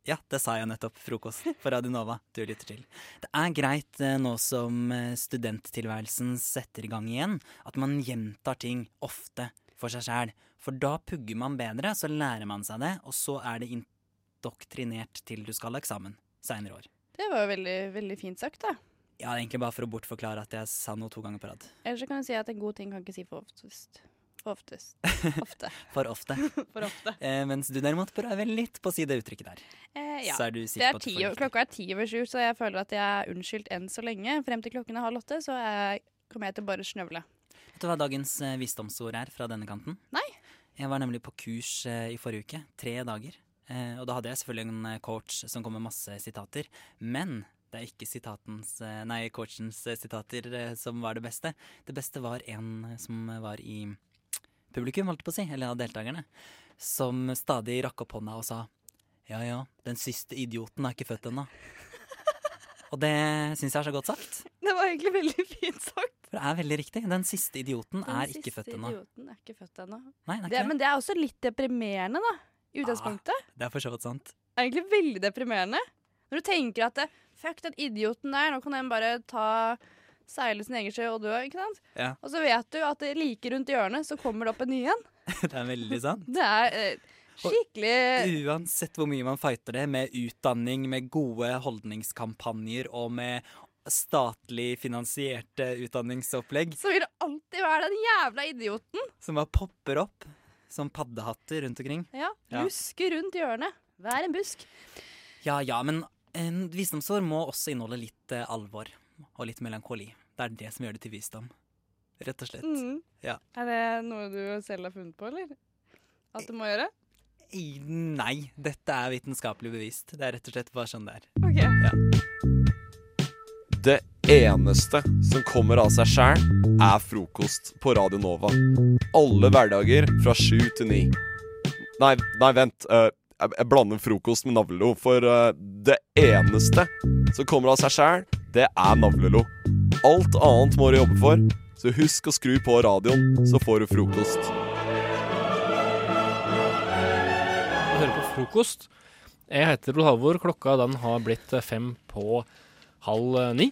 L: Ja, det sa jeg nettopp. Frokost på Radionova du lytter til. Det er greit eh, nå som eh, studenttilværelsen setter i gang igjen, at man gjentar ting ofte for seg sjæl. For da pugger man bedre, så lærer man seg det, og så er det indoktrinert til du skal ha eksamen seinere år.
K: Det var jo veldig, veldig fint sagt, da.
L: Ja, det er egentlig bare for å bortforklare at jeg sa noe to ganger på rad.
K: Ellers så kan du si at en god ting kan ikke si for oftest. For oftest. Ofte.
L: For ofte.
K: For ofte.
L: Eh, mens du derimot prøver litt på å si det uttrykket der.
K: Eh, ja.
L: Så er du
K: det
L: sikker
K: er
L: på at du
K: ti,
L: får
K: over- klokka er ti over sju, så jeg føler at jeg er unnskyldt enn så lenge. Frem til klokken er halv åtte, så jeg kommer jeg til å bare snøvle.
L: Vet du hva dagens eh, visdomsord er fra denne kanten?
K: Nei.
L: Jeg var nemlig på kurs eh, i forrige uke, tre dager. Eh, og da hadde jeg selvfølgelig en eh, coach som kom med masse sitater. Men det er ikke sitatens, eh, nei, coachens eh, sitater eh, som var det beste. Det beste var en eh, som var i publikum, holdt jeg på å si, eller av deltakerne, som stadig rakk opp hånda og sa ja ja, den siste idioten er ikke født ennå. Og det syns jeg er så godt sagt.
K: Det var egentlig veldig fint sagt.
L: For det er veldig riktig. Den siste idioten
K: Den
L: er ikke
K: siste
L: født ennå.
K: idioten er ikke født ennå.
L: Nei, det er
K: Det-
L: ikke Ah. det.
K: Men det er også litt deprimerende, da. I utgangspunktet.
L: Det er for så vidt sant.
K: Det er egentlig veldig deprimerende. Når du tenker at eh, fuck den idioten der, nå kan den bare ta seile sin egen sjø og dø, ikke sant.
L: Ja.
K: Og så vet du at det like rundt hjørnet så kommer det opp en ny en.
L: Det er veldig sant.
K: Det er eh, skikkelig
L: Uansett hvor mye man fighter det, med utdanning, med gode holdningskampanjer og med statlig finansierte utdanningsopplegg
K: Så vil det alltid være den jævla idioten.
L: som bare popper opp som paddehatter rundt omkring.
K: Ja,
L: Ja.
K: Luske rundt hjørnet. Vær en busk.
L: Ja ja, men en visdomsord må også inneholde litt eh, alvor og litt melankoli. Det er det som gjør det til visdom, rett og slett.
K: Mhm.
L: Ja.
K: Er det noe du selv har funnet på, eller? At du må gjøre?
L: I- Nei, dette er vitenskapelig bevist. Det er rett og slett bare sånn det er.
E: Det eneste som kommer av seg sjæl, er frokost på Radio Nova. Alle hverdager fra sju til ni. Nei, nei, vent. eh, jeg, jeg blander frokost med navlelo, for eh, det eneste som kommer av seg sjæl, det er navlelo. Alt annet må du jobbe for, så husk å skru på radioen, så får du frokost.
N: og hører på frokost. Jeg heter Odd Halvor. Klokka den har blitt eh, fem på halv eh, ni.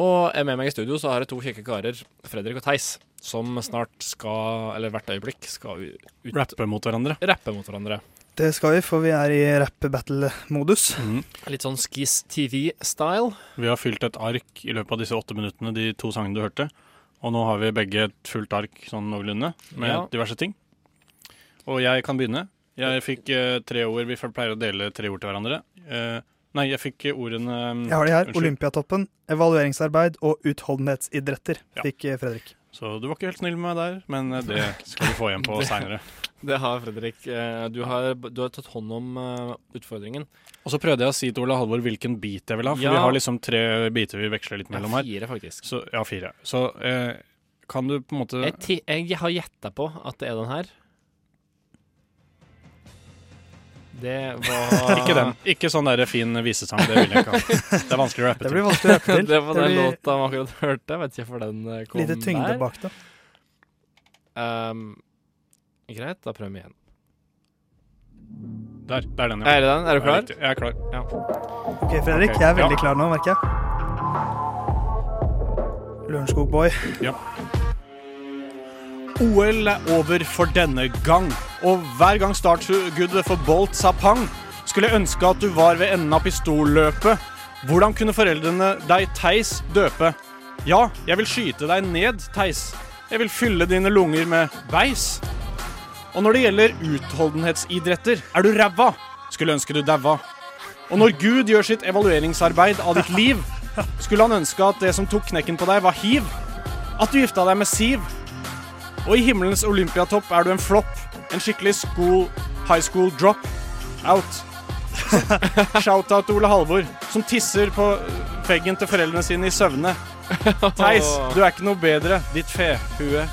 N: Og jeg med meg i studio så har jeg to kjekke karer, Fredrik og Theis, som snart skal, eller hvert øyeblikk, skal ut
O: Rappe mot hverandre.
N: Rappe mot hverandre.
M: Det skal vi, for vi er i rap-battle-modus.
O: Litt sånn Skis TV-style. Vi har fylt et ark i løpet av disse åtte minuttene, de to sangene du hørte. Og nå har vi begge et fullt ark sånn noenlunde, med
N: Ja.
O: diverse ting. Og jeg kan begynne. Jeg fikk eh, tre ord. Vi pleier å dele tre ord til hverandre. Eh, nei, jeg fikk ordene um,
M: Jeg har de her.
O: Unnskyld.
M: Olympiatoppen, evalueringsarbeid og utholdenhetsidretter,
O: Ja.
M: fikk eh, Fredrik.
O: Så du var ikke helt snill med meg der, men eh, det skal du få igjen på
N: Det-
O: seinere.
N: Det har Fredrik. Eh, Du har, du har tatt hånd om eh, utfordringen.
O: Og så prøvde jeg å si til Ola Halvor hvilken bit jeg vil ha, for
N: Ja.
O: vi har liksom tre biter vi veksler litt
N: Ja,
O: mellom her.
N: fire, faktisk.
O: Så, ja, fire. Så eh, kan du på en måte
N: Jeg, ti- jeg har gjetta på at det er den her. Det var
O: Ikke den. Ikke sånn der fin visesang, det vil jeg ikke ha. Det er vanskelig å rappe til.
N: det
O: Det
N: var den
O: blir-
N: låta han akkurat hørte. Jeg vet ikke hvorfor den eh, kom
M: Lite tyngde
N: der.
M: bak det.
N: Ehm, greit, da prøver vi igjen.
O: Der. Det er den,
N: Er det den? Er du klar?
O: Jeg er klar.
N: Ja.
M: Ok, Fredrik, jeg er veldig klar nå, merker jeg. Lørenskog-boy.
O: Ja. OL er over for denne gang, og hver gang startskuddet for Bolt sa pang, skulle jeg ønske at du var ved enden av pistolløpet. Hvordan kunne foreldrene deg, Theis, døpe? Ja, jeg vil skyte deg ned, Theis. Jeg vil fylle dine lunger med beis. Og når det gjelder utholdenhetsidretter, er du ræva. Skulle ønske du daua. Og når Gud gjør sitt evalueringsarbeid av ditt liv, skulle han ønske at det som tok knekken på deg, var hiv. At du gifta deg med Siv. Og i himmelens olympiatopp er du en flopp. En skikkelig school, high school drop out. Shout-out til Ole Halvor, som tisser på veggen til foreldrene sine i søvne. Theis, du er ikke noe bedre, ditt fehue.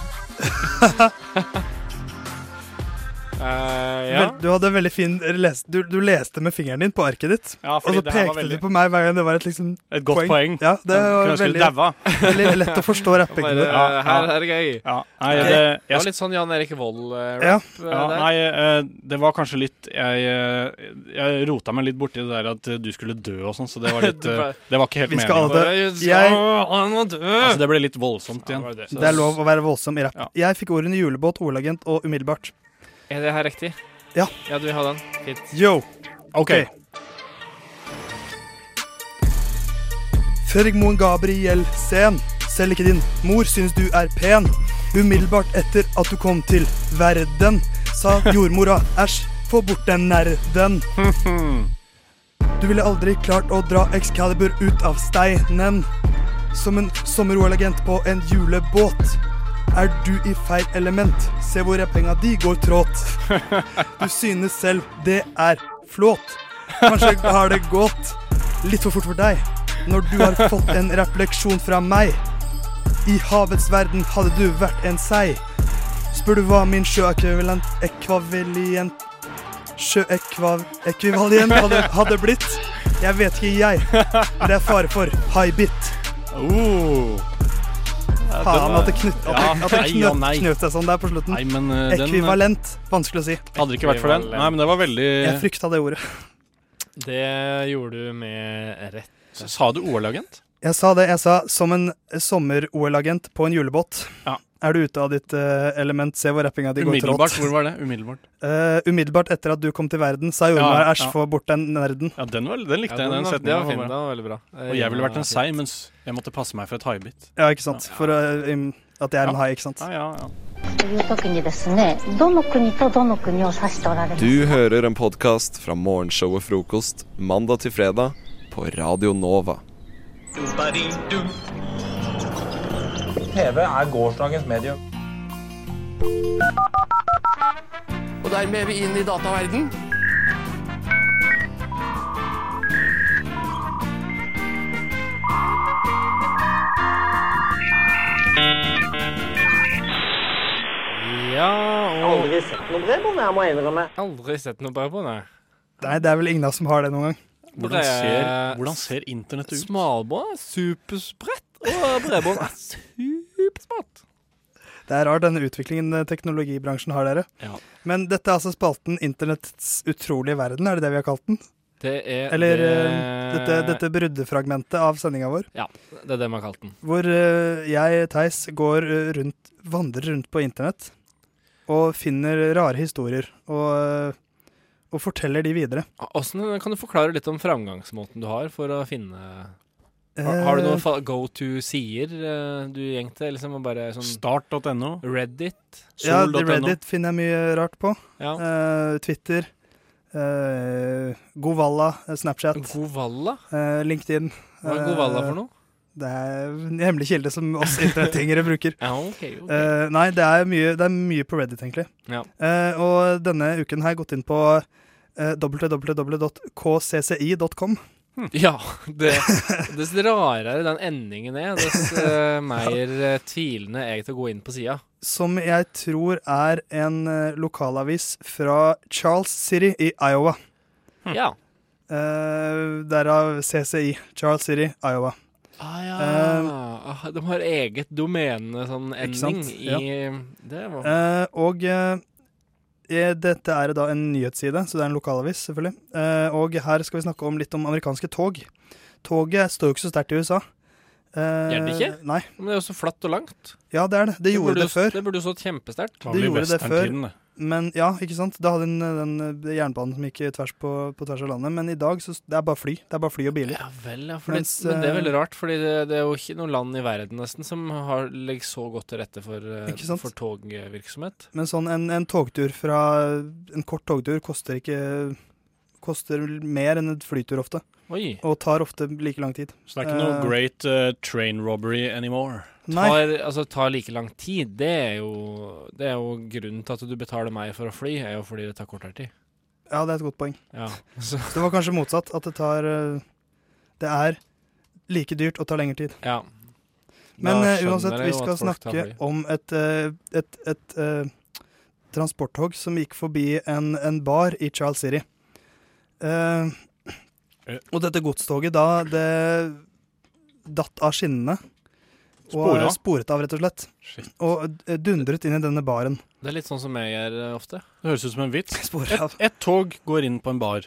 N: Eh, ja.
M: Vel, Du hadde en veldig fin les, du, du leste med fingeren din på arket ditt,
O: Ja,
M: og
O: fordi
M: så
O: det her
M: pekte
O: var veldig-
M: du på meg hver gang det var et, liksom,
O: Et godt poeng.
M: Ja, det
O: Ja,
M: var
O: kunne ønske du
M: veldig,
O: daua.
M: veldig lett å forstå rappingen
N: Bare,
M: din.
N: eh, Her her er det gøy.
O: Ja, nei,
N: Ok.
O: det-
N: det,
O: jeg-
N: var litt sånn Jan Erik Vold-rap.
O: Ja, nei, eh, det var kanskje litt Jeg, eh, jeg rota meg litt borti det der at eh, du skulle dø og sånn, så det var litt
N: Du
O: eh,
N: bare-
O: Det var ikke helt
M: Vi skal
O: meningen.
M: alle dø. Jeg-
N: Å, han må dø!
O: Altså, det ble litt voldsomt igjen.
M: Det er lov å være voldsom i rapp. Jeg fikk ordene julebåt, olagent og umiddelbart.
N: Er det her riktig?
M: Ja.
N: Ja, du vil ha den? Fint.
M: Yo.
O: Ok.
M: Fredrik Moen Gabriel Sen. Selv ikke din mor syns du er pen. Umiddelbart etter at du kom til verden, sa jordmora æsj, få bort den nerden. Du ville aldri klart å dra Excalibur ut av steinen. Som en sommer-OL-agent på en julebåt. Er du i feil element? Se hvor jeg penga di går trått. Du synes selv det er flåt. Kanskje har det gått litt for fort for deg når du har fått en refleksjon fra meg. I havets verden hadde du vært en sei. Spør du hva min sjøekvivalent ekvivalent sjøekvivalent hadde, hadde blitt? Jeg vet ikke, jeg. Men det er fare for haibit.
O: Oh.
M: Faen at det knøt, at det,
O: Ja,
M: at det
O: nei og
M: knøt,
O: nei.
M: knøt seg sånn der på slutten.
O: Nei, men, eh, den-
M: Ekvivalent. Vanskelig å si.
O: Hadde det ikke vært for den? Nei, men det var veldig
M: Jeg frykta det ordet.
N: Det gjorde du med rett.
O: Så Sa du OL-agent?
M: Jeg sa det. Jeg sa som en sommer-OL-agent på en julebåt. Er du ute av ditt eh, element? Se hvor rappinga di går trått.
O: Umiddelbart. Hvor var det? Umiddelbart.
M: Eh, umiddelbart etter at du kom til verden, sa jordmor
O: Ja,
M: æsj,
O: ja.
M: få bort den nerden.
O: Ja, den, var, den likte jeg.
N: Ja, den
O: Den
N: var-
O: setningen
N: det var fin, den var veldig bra.
O: Og jeg ville vært
N: Ja,
O: en sei, mens jeg måtte passe meg for et haibit.
M: Ja, ikke sant. For eh, im- at jeg er en hai, ikke sant.
F: という時にですねどの国とどの国を指しておられますか
E: Du hører en podkast fra morgenshowet Frokost mandag til fredag på Radio Nova.
P: TV er gårsdagens medium.
Q: Og dermed er vi inn i dataverden.
N: Ja, og
P: Aldri sett noe bredbånd, jeg må innrømme.
N: Aldri sett noe bra på den. her.
M: Nei, det er vel ingen av oss som har det noen gang.
O: Hvordan ser, hvordan ser internett ut?
N: Smalbånd er superspredt, og bredbånd er supersmart.
M: Det er rart denne utviklingen eh, teknologibransjen har dere.
N: Ja.
M: Men dette er altså spalten Internetts utrolige verden, er det det vi har kalt den?
N: Det er
M: Eller
N: det...
M: eh, dette, dette bruddefragmentet av sendinga vår.
N: Ja, det er det man har kalt den.
M: Hvor eh, jeg, Theis, går eh, rundt, vandrer rundt på internett og finner rare historier og, eh, og forteller de videre.
N: Hvordan, kan du forklare litt om framgangsmåten du har for å finne har, har du
M: Eh.
N: noen fa- go to-sider eh, du gjeng til? Liksom, og bare sånn
O: Start.no?
N: Reddit?
M: Ja,
N: Sol.no?
M: de Reddit finner jeg mye rart på. Eh, Twitter. eh, Govalla, eh, Snapchat. Eh,
N: Govalla?
M: LinkedIn.
N: Hva er Govalla for noe?
M: Eh, Det er en hemmelig kilde som oss internettingere bruker.
N: Ja, ok, ok.
M: Eh, nei, det er, mye, det er mye på Reddit, egentlig.
N: Ja.
M: Eh, og denne uken har jeg gått inn på eh, www.kcci.com.
N: Hm. Ja, det, dess rarere den endingen er, dess eh, mer eh, tvilende er jeg til å gå inn på sida.
M: Som jeg tror er en eh, lokalavis fra Charles City i Iowa.
N: Ja.
M: Eh, derav CCI. Charles City, Iowa.
N: Ah, ja.
M: Eh,
N: Ah, de har eget domene, sånn
M: Ikke
N: ending
M: sant?
N: i Det var
M: Eh, og eh, eh, dette er da en nyhetsside, så det er en lokalavis, selvfølgelig. Eh, og her skal vi snakke om litt om amerikanske tog. Toget står jo ikke så sterkt i USA. Uh,
N: Gjør det ikke?
M: Nei.
N: Men det er jo så flatt og langt.
M: Ja, det er det. Det gjorde
N: burde
M: det
N: jo-
M: før.
N: Det burde jo stått kjempesterkt.
M: Det gjorde det før, men ja, ikke sant? Da hadde den, den eh, jernbanen som gikk tvers på, på tvers av landet, men i dag så s- det er bare fly. Det er bare fly og biler. eh,
N: Ja vel, ja. Fordi, men det er veldig rart, fordi det, det er jo ikke noe land i verden nesten som har, legger så godt til rette for, eh,
M: Ikke sant?
N: for togvirksomhet.
M: Men sånn en, en togtur fra En kort togtur koster ikke Koster mer enn en flytur ofte.
N: Oi.
M: Og tar ofte like lang tid.
O: Så det er ikke noe
M: Eh,
O: great eh, train robbery anymore.
N: Tar, altså, tar like lang tid, det er, jo, det er jo grunnen til at du betaler meg for å fly, er jo fordi det tar kortere tid.
M: Ja, det er et godt poeng.
N: Ja.
M: Så det var kanskje motsatt. At det tar eh, Det er like dyrt og tar lengre tid.
N: Ja.
M: Men
N: Da
M: eh,
N: skjønner
M: uansett,
N: jeg
M: vi
N: jo
M: skal
N: at folk tar
M: snakke
N: fly.
M: om et, eh, et, et eh, transporttog som gikk forbi en, en bar i Charles City. Eh,
N: Eh.
M: og dette godstoget, da det datt av skinnene. Og
N: Spora.
M: sporet av, rett og slett. Og eh, dundret inn i denne baren.
N: Det er litt sånn som jeg gjør eh, ofte.
O: Det høres ut som en vits.
M: Spor
O: Et, et tog går inn på en bar.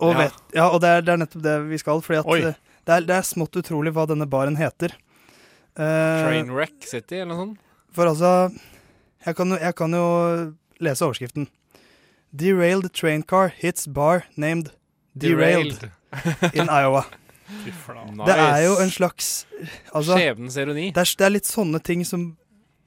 M: Og,
O: Ja.
M: vet, ja, og det, er, det er nettopp det vi skal, fordi at
O: Oi.
M: eh, det, er, det er smått utrolig hva denne baren heter. Eh,
N: Trainwreck City eller noe sånt.
M: For altså jeg kan, jo- jeg kan jo lese overskriften. Derailed train car hits bar named Derailed, in Iowa.
N: Fy flate.
M: Det er jo
N: Nice.
M: en slags altså,
N: Skjebnens ironi.
M: Det er, det er litt sånne ting som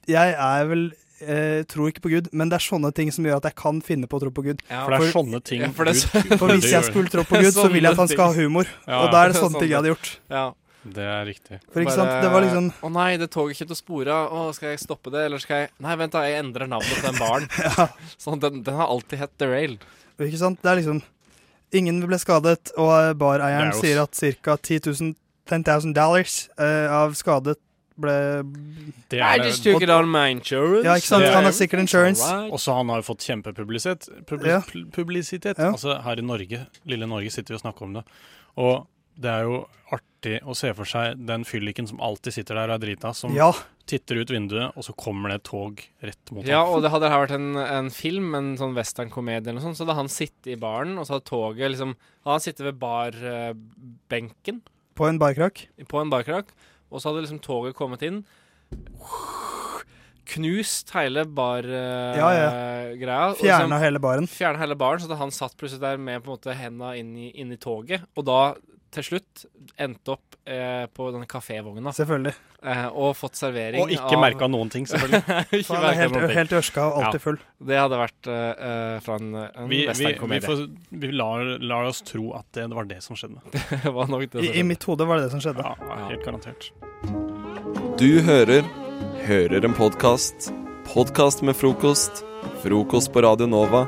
M: Jeg er vel eh, tror ikke på Gud, men det er sånne ting som gjør at jeg kan finne på å tro på Gud.
N: Ja, For det er sånne ting Ja, for det er Gud-
M: for hvis jeg skulle tro på Gud, så vil jeg at han skal ha humor.
N: Ja,
M: og da er det
N: det er
M: sånne ting jeg hadde gjort.
N: Ja.
D: Det er riktig.
M: For ikke sant, det var liksom
N: Å nei, det toget kommer til å spore. Å, skal jeg stoppe det, eller skal jeg Nei, vent, da, jeg endrer navnet på den baren. Sånn, den, den har alltid hett The Rail.
M: Ikke sant? Det er liksom Ingen ble skadet, og eh, bareieren
N: Det
M: sier
N: er jo
M: at ca. 10 000 $10,000 dollars eh, av skadet ble
O: Det
N: I just took it on my insurance.
M: Ja, ikke sant?
O: Det er-
M: Han har sikkert insurance.
O: Og så han har jo fått kjempepublisitet. Publis
M: Ja.
O: pu- Publisitet.
M: Ja.
O: Altså her i Norge, lille Norge, sitter vi og snakker om det. Og det er jo artig å se for seg den fylliken som alltid sitter der og er drita, som
M: Ja.
O: titter ut vinduet, og så kommer det et tog rett mot
N: Ja,
O: ham.
N: og det hadde her vært en, en film, en sånn westernkomedie eller noe sånt, så hadde han sittet i baren, og så hadde toget liksom Han hadde sittet ved barbenken
M: På en barkrakk.
N: på en barkrakk, og så hadde liksom toget kommet inn. Knust hele bar-greia.
M: Ja, ja. Fjerna
N: liksom,
M: hele baren.
N: Fjerna hele baren, så at han satt plutselig der med på en måte henda inn, i- inn i toget. Og da, til slutt, endte opp eh, på denne kafévogna.
M: Selvfølgelig.
N: Eh, og fått servering.
O: Og ikke merket noen ting, selvfølgelig.
N: Ikke
O: For han er
N: merket
O: helt-
N: noen ting.
O: helt ørska og alltid full.
N: Det hadde vært eh, fra en, en
O: Vi, vi, vi,
N: westernkomedie.
O: får, vi lar, lar oss tro at det var det som skjedde.
N: det var nok
M: I, I mitt hode var det det som skjedde.
O: Helt garantert.
E: Du hører Hører en podkast. Podkast med frokost. Frokost på Radio Nova.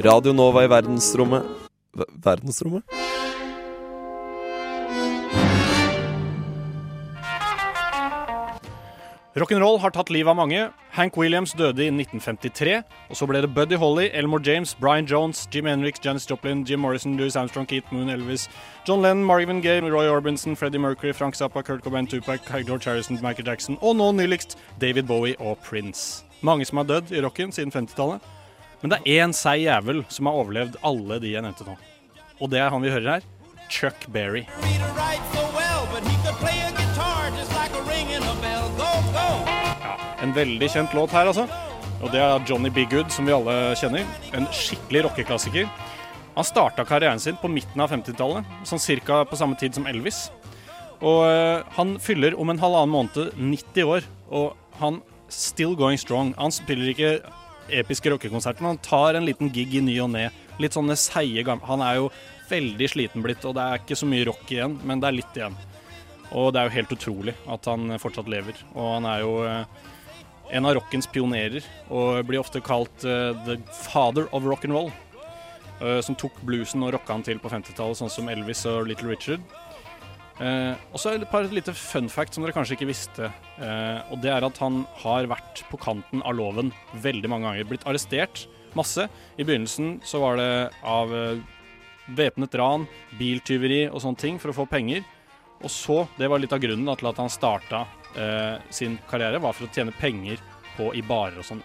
E: Radio Nova i verdensrommet Ver- Verdensrommet?
O: Rock'n'roll har tatt livet av mange. Hank Williams døde i 1953. Og så ble det Buddy Holly, Elmore James, Brian Jones, Jim Henrik, Janis Joplin, Jim Morrison, Louis Armstrong, Keith Moon, Elvis, John Lennon, Marvin Gaye, Roy Orbison, Freddie Mercury, Frank Zappa, Kurt Cobain, Tupac, George Harrison, Michael Jackson og nå nyligst David Bowie og Prince. Mange som har dødd i rocken siden 50-tallet. Men det er én seig jævel som har overlevd alle de jeg nevnte nå. Og det er han vi hører her. Chuck Berry. En veldig kjent låt her, altså. Og det er Johnny B. Good, som vi alle kjenner. En skikkelig rockeklassiker. Han starta karrieren sin på midten av 50-tallet, sånn cirka på samme tid som Elvis. Og eh, han fyller om en halvannen måned 90 år, og han still going strong. Han spiller ikke episke rockekonserter, men han tar en liten gig i ny og ne. Litt sånne seige gamle Han er jo veldig sliten blitt, og det er ikke så mye rock igjen, men det er litt igjen. Og det er jo helt utrolig at han fortsatt lever. Og han er jo eh, en av rockens pionerer, og blir ofte kalt eh, the father of rock'n'roll. Uh, som tok bluesen og rocka han til på 50-tallet, sånn som Elvis og Little Richard. Eh, og så er det et par lite fun fact som dere kanskje ikke visste. eh, og det er at han har vært på kanten av loven veldig mange ganger. Blitt arrestert masse. I begynnelsen så var det av eh, væpnet ran, biltyveri og sånne ting for å få penger. Og så, det var litt av grunnen da, til at han starta eh, sin karriere, var for å tjene penger på i barer og sånn.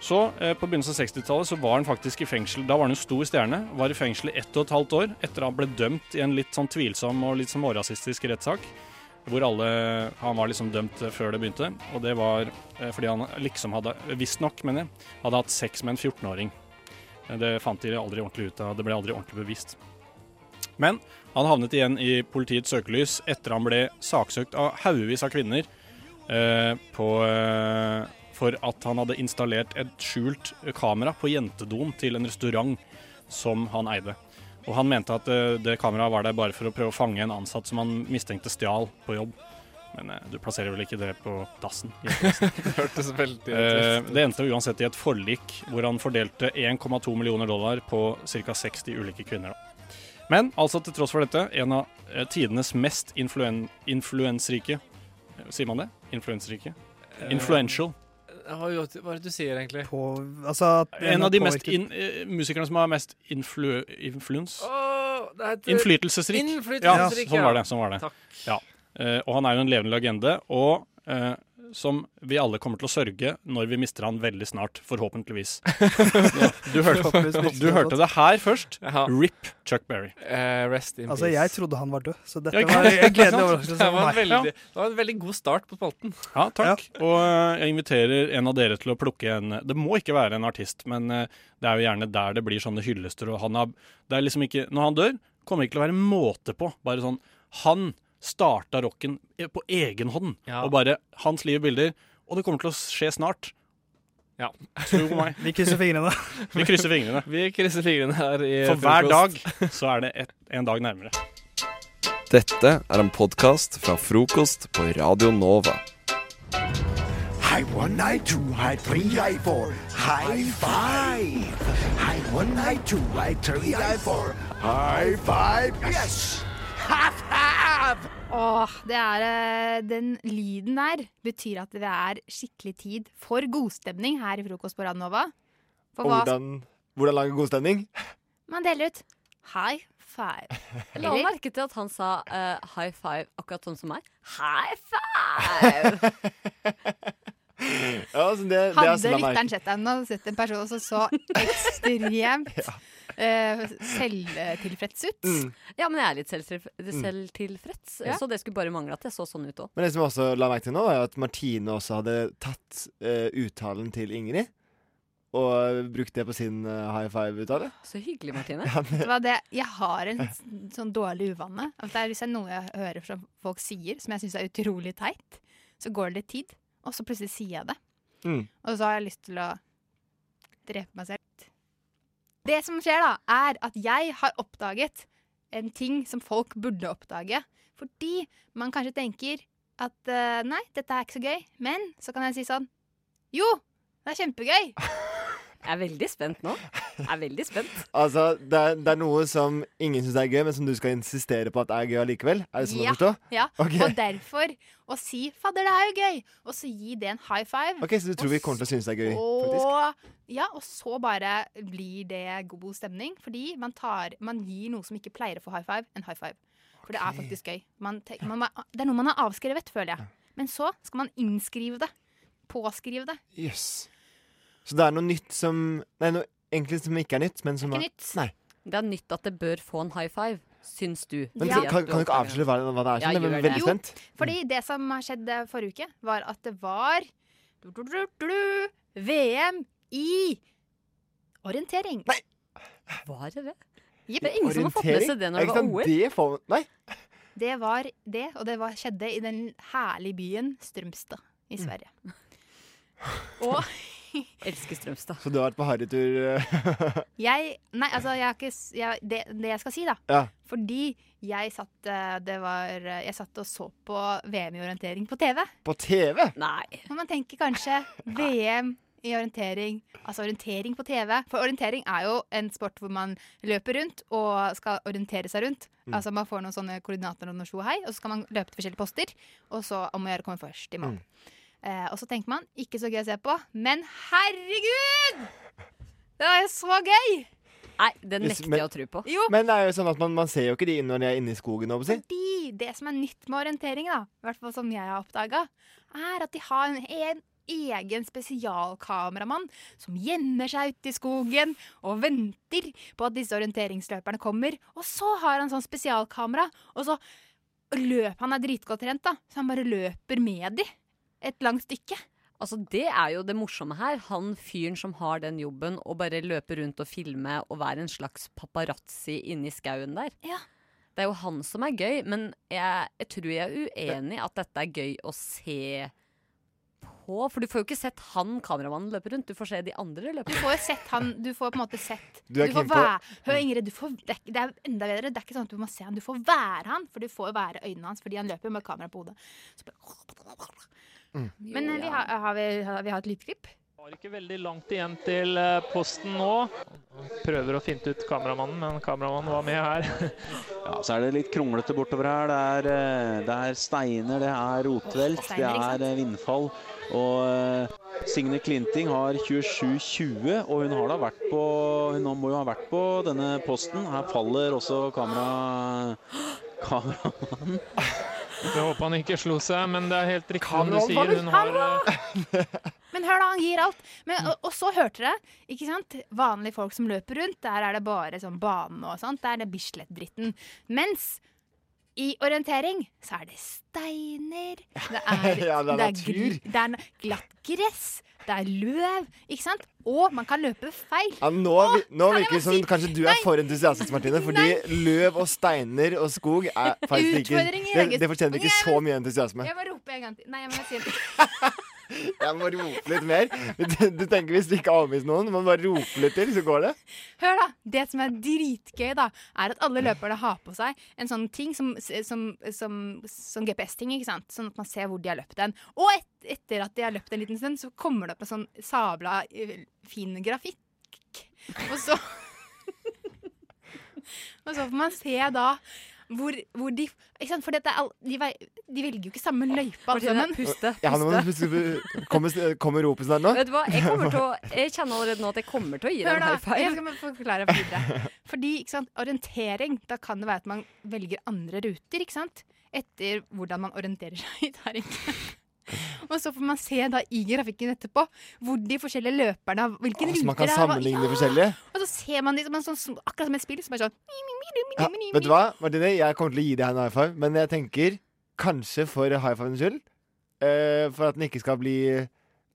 O: Så eh, på begynnelsen av 60-tallet så var han faktisk i fengsel. Da var han jo stor stjerne. Var i fengsel i ett og et halvt år etter han ble dømt i en litt sånn tvilsom og litt sånn smårasistisk rettssak. Hvor alle Han var liksom dømt eh, før det begynte. Og det var eh, fordi han liksom hadde Visstnok, mener jeg, hadde hatt sex med en 14-åring. Eh, Det fant de aldri ordentlig ut av. Det ble aldri ordentlig bevist. Men han havnet igjen i politiets søkelys etter han ble saksøkt av haugevis av kvinner eh, på, eh, for at han hadde installert et skjult kamera på jentedoen til en restaurant som han eide. Og han mente at eh, det kameraet var der bare for å prøve å fange en ansatt som han mistenkte stjal på jobb. Men eh, du plasserer vel ikke det på dassen? jentedassen?
R: Hørtes veldig
O: Eh,
R: trist ut.
O: Det endte uansett i et forlik hvor han fordelte 1,2 millioner dollar på ca. 60 ulike kvinner. Da. Men altså til tross for dette, en av eh, tidenes mest influen influensrike eh, Sier man det? Influensrike? Influential.
R: Hva hva er det du sier, egentlig?
M: altså, at
O: En av de mest in, eh, musikerne som har mest influ influens.
R: Åh, det heter-
O: eh, Innflytelsesrik.
R: Innflytelsesrik,
O: ja. Sånn var det. Sånn var det.
R: Takk.
O: Ja. Eh, og han er jo en levende legende, og eh, som vi alle kommer til å sørge når vi mister han veldig snart, forhåpentligvis. Du hørte, du hørte det her først. RIP Chuck Berry.
R: Eh, rest in
M: Altså, jeg trodde han var død, så dette
R: Ja, ikke
M: var
R: sant?
M: en
R: Ikke sant?
M: gledelig overraskelse
R: Det
M: for
R: var
M: meg.
R: en veldig, det var en veldig god start på spalten.
O: Ja, takk. Og eh, jeg inviterer en av dere til å plukke en Det må ikke være en artist, men eh, det er jo gjerne der det blir sånne hyllester, og han har Det er liksom ikke Når han dør, kommer det ikke til å være måte på. Bare sånn Han starta rocken e- på egen hånd,
R: Ja.
O: og bare Hans liv og bilder. Og det kommer til å skje snart.
R: Ja.
O: Tro på meg.
M: Vi krysser fingrene.
O: Vi krysser fingrene.
R: Vi krysser fingrene her i
O: For hver dag
R: frokost.
O: så er det et, en dag nærmere.
E: Dette er en podkast fra frokost på Radio Nova.
S: Hei one, hei to, hei tre, hei four. High five! Hei one, hei to, hei tre, hei four. High five! Yes! Half half!
T: Åh, det er eh, Den lyden der betyr at det er skikkelig tid for godstemning her i frokost på Radnova. For
R: Og
T: hva
R: hvordan- Hvordan lage god stemning?
T: man deler ut? High five.
G: La
T: Eller?
G: merke til at han sa eh, high five akkurat sånn som meg.
T: High five!
R: Ja, så det, det er
T: Hadde
R: sånn jeg merker.
T: lytteren sett deg nå, sett en person som så ekstremt eh, selvtilfreds ut
R: Mm.
G: Ja, men jeg er litt selvtilf
R: Mm.
G: selvtilfreds,
T: Ja.
G: så det skulle bare mangle at jeg så sånn ut òg.
R: Men det som jeg også la merke til nå, er at Martine også hadde tatt eh, uttalen til Ingrid. Og brukt det på sin eh, high five-uttale.
G: Så hyggelig, Martine.
T: Det var det, jeg har en s- sånn dårlig uvane. At det er, hvis det er noe jeg hører som folk sier, som jeg syns er utrolig teit, så går det litt tid, og så plutselig sier jeg det.
R: Mm.
T: Og så har jeg lyst til å drepe meg selv. Det som skjer, da, er at jeg har oppdaget en ting som folk burde oppdage. Fordi man kanskje tenker at eh, nei, dette er ikke så gøy. Men så kan jeg si sånn Jo, det er kjempegøy!
G: Jeg er veldig spent nå. Jeg er veldig spent.
R: Altså, det er, det er noe som ingen syns er gøy, men som du skal insistere på at er gøy allikevel. Er det sånn å
T: ja,
R: forstå?
T: Ja.
R: Ok.
T: Og derfor å si 'fadder, det er jo gøy', og så gi det en high five.
R: OK, så du tror vi kommer til å synes det er gøy? faktisk?
T: og, ja, og så bare blir det god stemning, fordi man, tar, man gir noe som ikke pleier å få high five, en high five. For det er faktisk gøy. Man tenk- man, må- det er noe man har avskrevet, føler jeg. Men så skal man innskrive det. Påskrive det.
R: Jøss. Så det er noe nytt som Nei, noe egentlig som ikke er nytt, men som
G: Ikke
R: er-
G: nytt.
R: Nei.
G: Det er nytt at det bør få en high five, syns du.
R: Men
G: Fordi
R: kan,
G: at
R: kan du ikke
G: oppdager
R: avsløre hva, hva det er?
G: Ja,
R: Sånn? jeg
G: gjør
R: er
G: det.
R: veldig
G: Jo.
R: spent.
T: Fordi det som har skjedd eh, forrige uke, var at det var Du, du, du, du, du. VM i orientering. Nei!
G: Var det det?
T: Jepp.
G: Det er ingen som har fått med seg det når det
R: Ikke
G: var E.
R: sant,
G: OL.
R: Det får, nei.
T: Det var det, og det var, skjedde i den herlige byen Strømstad i
G: Mm.
T: Sverige.
G: Elsker Strømstad.
R: Så du har vært på harrytur? eh,
T: Jeg Nei, altså, jeg har ikke s- jeg, det, det jeg skal si, da.
R: ja.
T: Fordi jeg satt, eh, det var, eh, jeg satt og så på VM i orientering på TV.
R: På TV?
G: Nei.
T: Men man tenker kanskje VM i orientering, altså orientering på TV. For orientering er jo en sport hvor man løper rundt og skal orientere seg rundt.
I: Mm.
T: Altså man får noen sånne koordinater og noen sjo og hei, og så skal man løpe til forskjellige poster. Og så om å gjøre å komme først i mål. Eh, og så tenker man, ikke så gøy å se på, men herregud! Det var jo så gøy!
G: Nei, det
R: Hvis- men-
T: Jo,
R: Men det er jo sånn at man, man ser jo ikke de når de er inne i skogen. holdt jeg på å si.
T: fordi det som er nytt med orientering, da, i hvert fall som jeg har oppdaga, er at de har en, en egen spesialkameramann som gjemmer seg ute i skogen og venter på at disse orienteringsløperne kommer. Og så har han sånn spesialkamera, og så løper han er dritgodt trent, da, så han bare løper med de et langt stykke.
G: Altså, Det er jo det morsomme her. Han fyren som har den jobben, og bare løpe rundt og filme og være en slags paparazzi inni skauen der. Det er jo han som er gøy, men jeg, jeg tror jeg er uenig i at dette er gøy å se på. For du får jo ikke sett han kameramannen løpe rundt, du får se de andre løpe.
T: Du får jo sett han, du får på en måte sett
G: Du er
T: får
G: keen på-
T: væ- Hør Ingrid, du får, det, er, ikke- det er enda bedre. Det er ikke sånn at du må se han, du får være han. For du får jo være øynene hans, fordi han løper jo med kamera på hodet. Så bare...
G: Mm.
T: Men eh, vi har, har, vi, har vi hatt lydklipp?
U: Har ikke veldig langt igjen til eh, posten nå. Prøver å finte ut kameramannen, men kameramannen var med her.
V: Ja, så er det litt kronglete bortover her. Det er, eh, det er steiner, det er rotvelt, det
U: Steiner, ikke
V: er eh, vindfall. Og eh, Signe Klinting har 27-20, og hun har da vært på Hun må jo ha vært på denne posten. Her faller også kamera... Kameramannen.
U: Jeg håper han ikke slo seg, men det er helt riktig som du
T: Kameramannen
U: sier. Hun har eh,
T: Men hør da, han gir alt. Men, og, og så hørte dere, ikke sant? Vanlige folk som løper rundt, der er det bare sånn bane og sånt. Der er det Bislett-dritten. Mens i orientering så er det steiner, det er,
R: Ja, det er
T: gr-
R: natur.
T: det er na- glatt gress, det er løv, ikke sant? Og man kan løpe feil.
R: Ja, nå vi- nå virker det som kanskje du er for entusiastisk, Martine. Fordi løv og steiner og skog er faktisk ikke
T: Utfordring i
R: Det,
T: eget-
R: det fortjener ikke så mye entusiasme.
T: Jeg må rope en gang til. Nei, jeg må si det.
R: Jeg må rope litt mer. Du, du tenker hvis du ikke avviser noen, man bare roper litt til, så går det?
T: Hør da, det som er dritgøy da, er at alle løperne har på seg en sånn ting som, som, som, som GPS-ting, ikke sant? Sånn at man ser hvor de har løpt den. Og et, etter at de har løpt en liten stund, så kommer det opp en sånn sabla eh, fin grafikk. Og så, og så får man se da hvor, hvor de Ikke sant, for dette er all, de, vei- de velger jo ikke samme løype, alle sammen.
R: Ja, nå må du puste. Kommer, kommer ropet snart nå?
G: Vet du hva, jeg, kommer til å, jeg kjenner allerede nå at jeg kommer til å gi deg
T: Hør
G: en
T: da,
G: high
T: jeg
G: five.
T: skal forklare videre. Fordi ikke sant, orientering, da kan det være at man velger andre ruter, ikke sant? Etter hvordan man orienterer seg i terrenget. Og så får man se da i grafikken etterpå hvor de forskjellige løperne har- Hvilken
R: Så man kan
T: ruter det er, hva-
R: sammenligne
T: Ja!
R: de forskjellige?
T: Og så ser man de som en sånn, som- akkurat som et spill som er sånn
R: Ja, vet du hva, Martine? Jeg kommer til å gi deg en high five, men jeg tenker kanskje for high fivens skyld. eh, for at den ikke skal bli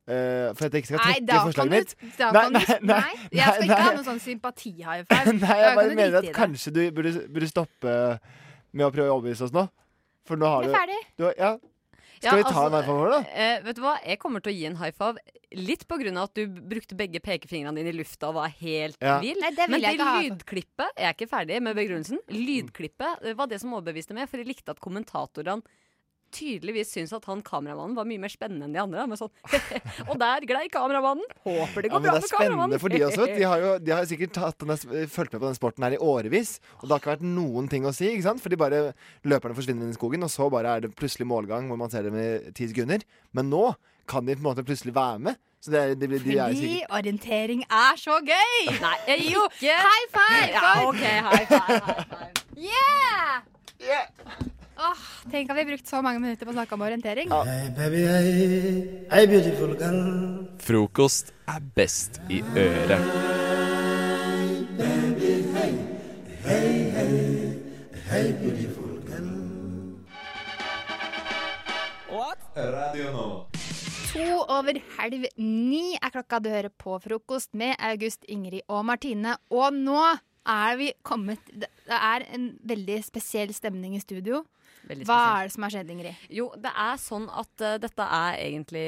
R: eh, For at jeg ikke skal
T: Nei,
R: trekke
T: da kan
R: forslaget
T: du,
R: mitt.
T: da
R: Nei,
T: kan
R: nei,
T: du
R: nei,
T: Nei, jeg skal
R: nei,
T: ikke ha
R: nei.
T: noen sånn sympati-high
R: Nei,
T: five. Da
R: jeg
T: kan
R: bare
T: du
R: mener
T: drite
R: at
T: i det.
R: kanskje du burde, burde stoppe med å prøve å overbevise oss nå. For nå har
G: Vi
R: du
G: er ferdig.
R: Du, har- ja. Skal
G: Ja,
R: vi ta en
G: altså,
R: high five vår, da?
G: Eh, vet du hva, jeg kommer til å gi en high five. Litt på grunn av at du brukte begge pekefingrene dine i lufta og var helt
R: Ja.
G: vill.
T: Nei, det vil
G: Men
T: jeg ikke ha. altså. Mm.
G: lydklippet Jeg er ikke ferdig med begrunnelsen. Lydklippet eh, var det som overbeviste meg, for jeg likte at kommentatorene tydeligvis syns at han kameramannen var mye mer spennende enn de andre. Med sånn, og der glei kameramannen! Håper det
R: Ja,
G: går
R: men
G: bra
R: det er
G: for
R: spennende
G: kameramannen!
R: for de også. De har jo de har sikkert tatt den, der- fulgt med på den sporten her i årevis. Og det har ikke vært noen ting å si, ikke sant? For de bare, løperne forsvinner inn i skogen, og så bare er det plutselig målgang hvor man ser dem i ti sekunder. Men nå kan de på en måte plutselig være med. Så det er, de, de, de er jo
T: Fordi
R: sikkert
T: orientering er så gøy!
G: Nei, jeg gir
T: jo
G: ikke.
T: High five!
G: Ja,
T: for-
G: ok, high five,
T: Yeah! Åh, tenk at vi har brukt så mange minutter på å snakke om orientering.
W: Baby, hey, hey, beautiful girl.
E: Frokost er best i øret.
T: To over halv ni er klokka du hører på frokost med August, Ingrid og Martine. Og nå er vi kommet Det det er en veldig spesiell stemning i studio.
G: Veldig
T: Hva
G: spesiell.
T: er det som har skjedd, Ingrid?
G: Jo, det er sånn at eh, dette er egentlig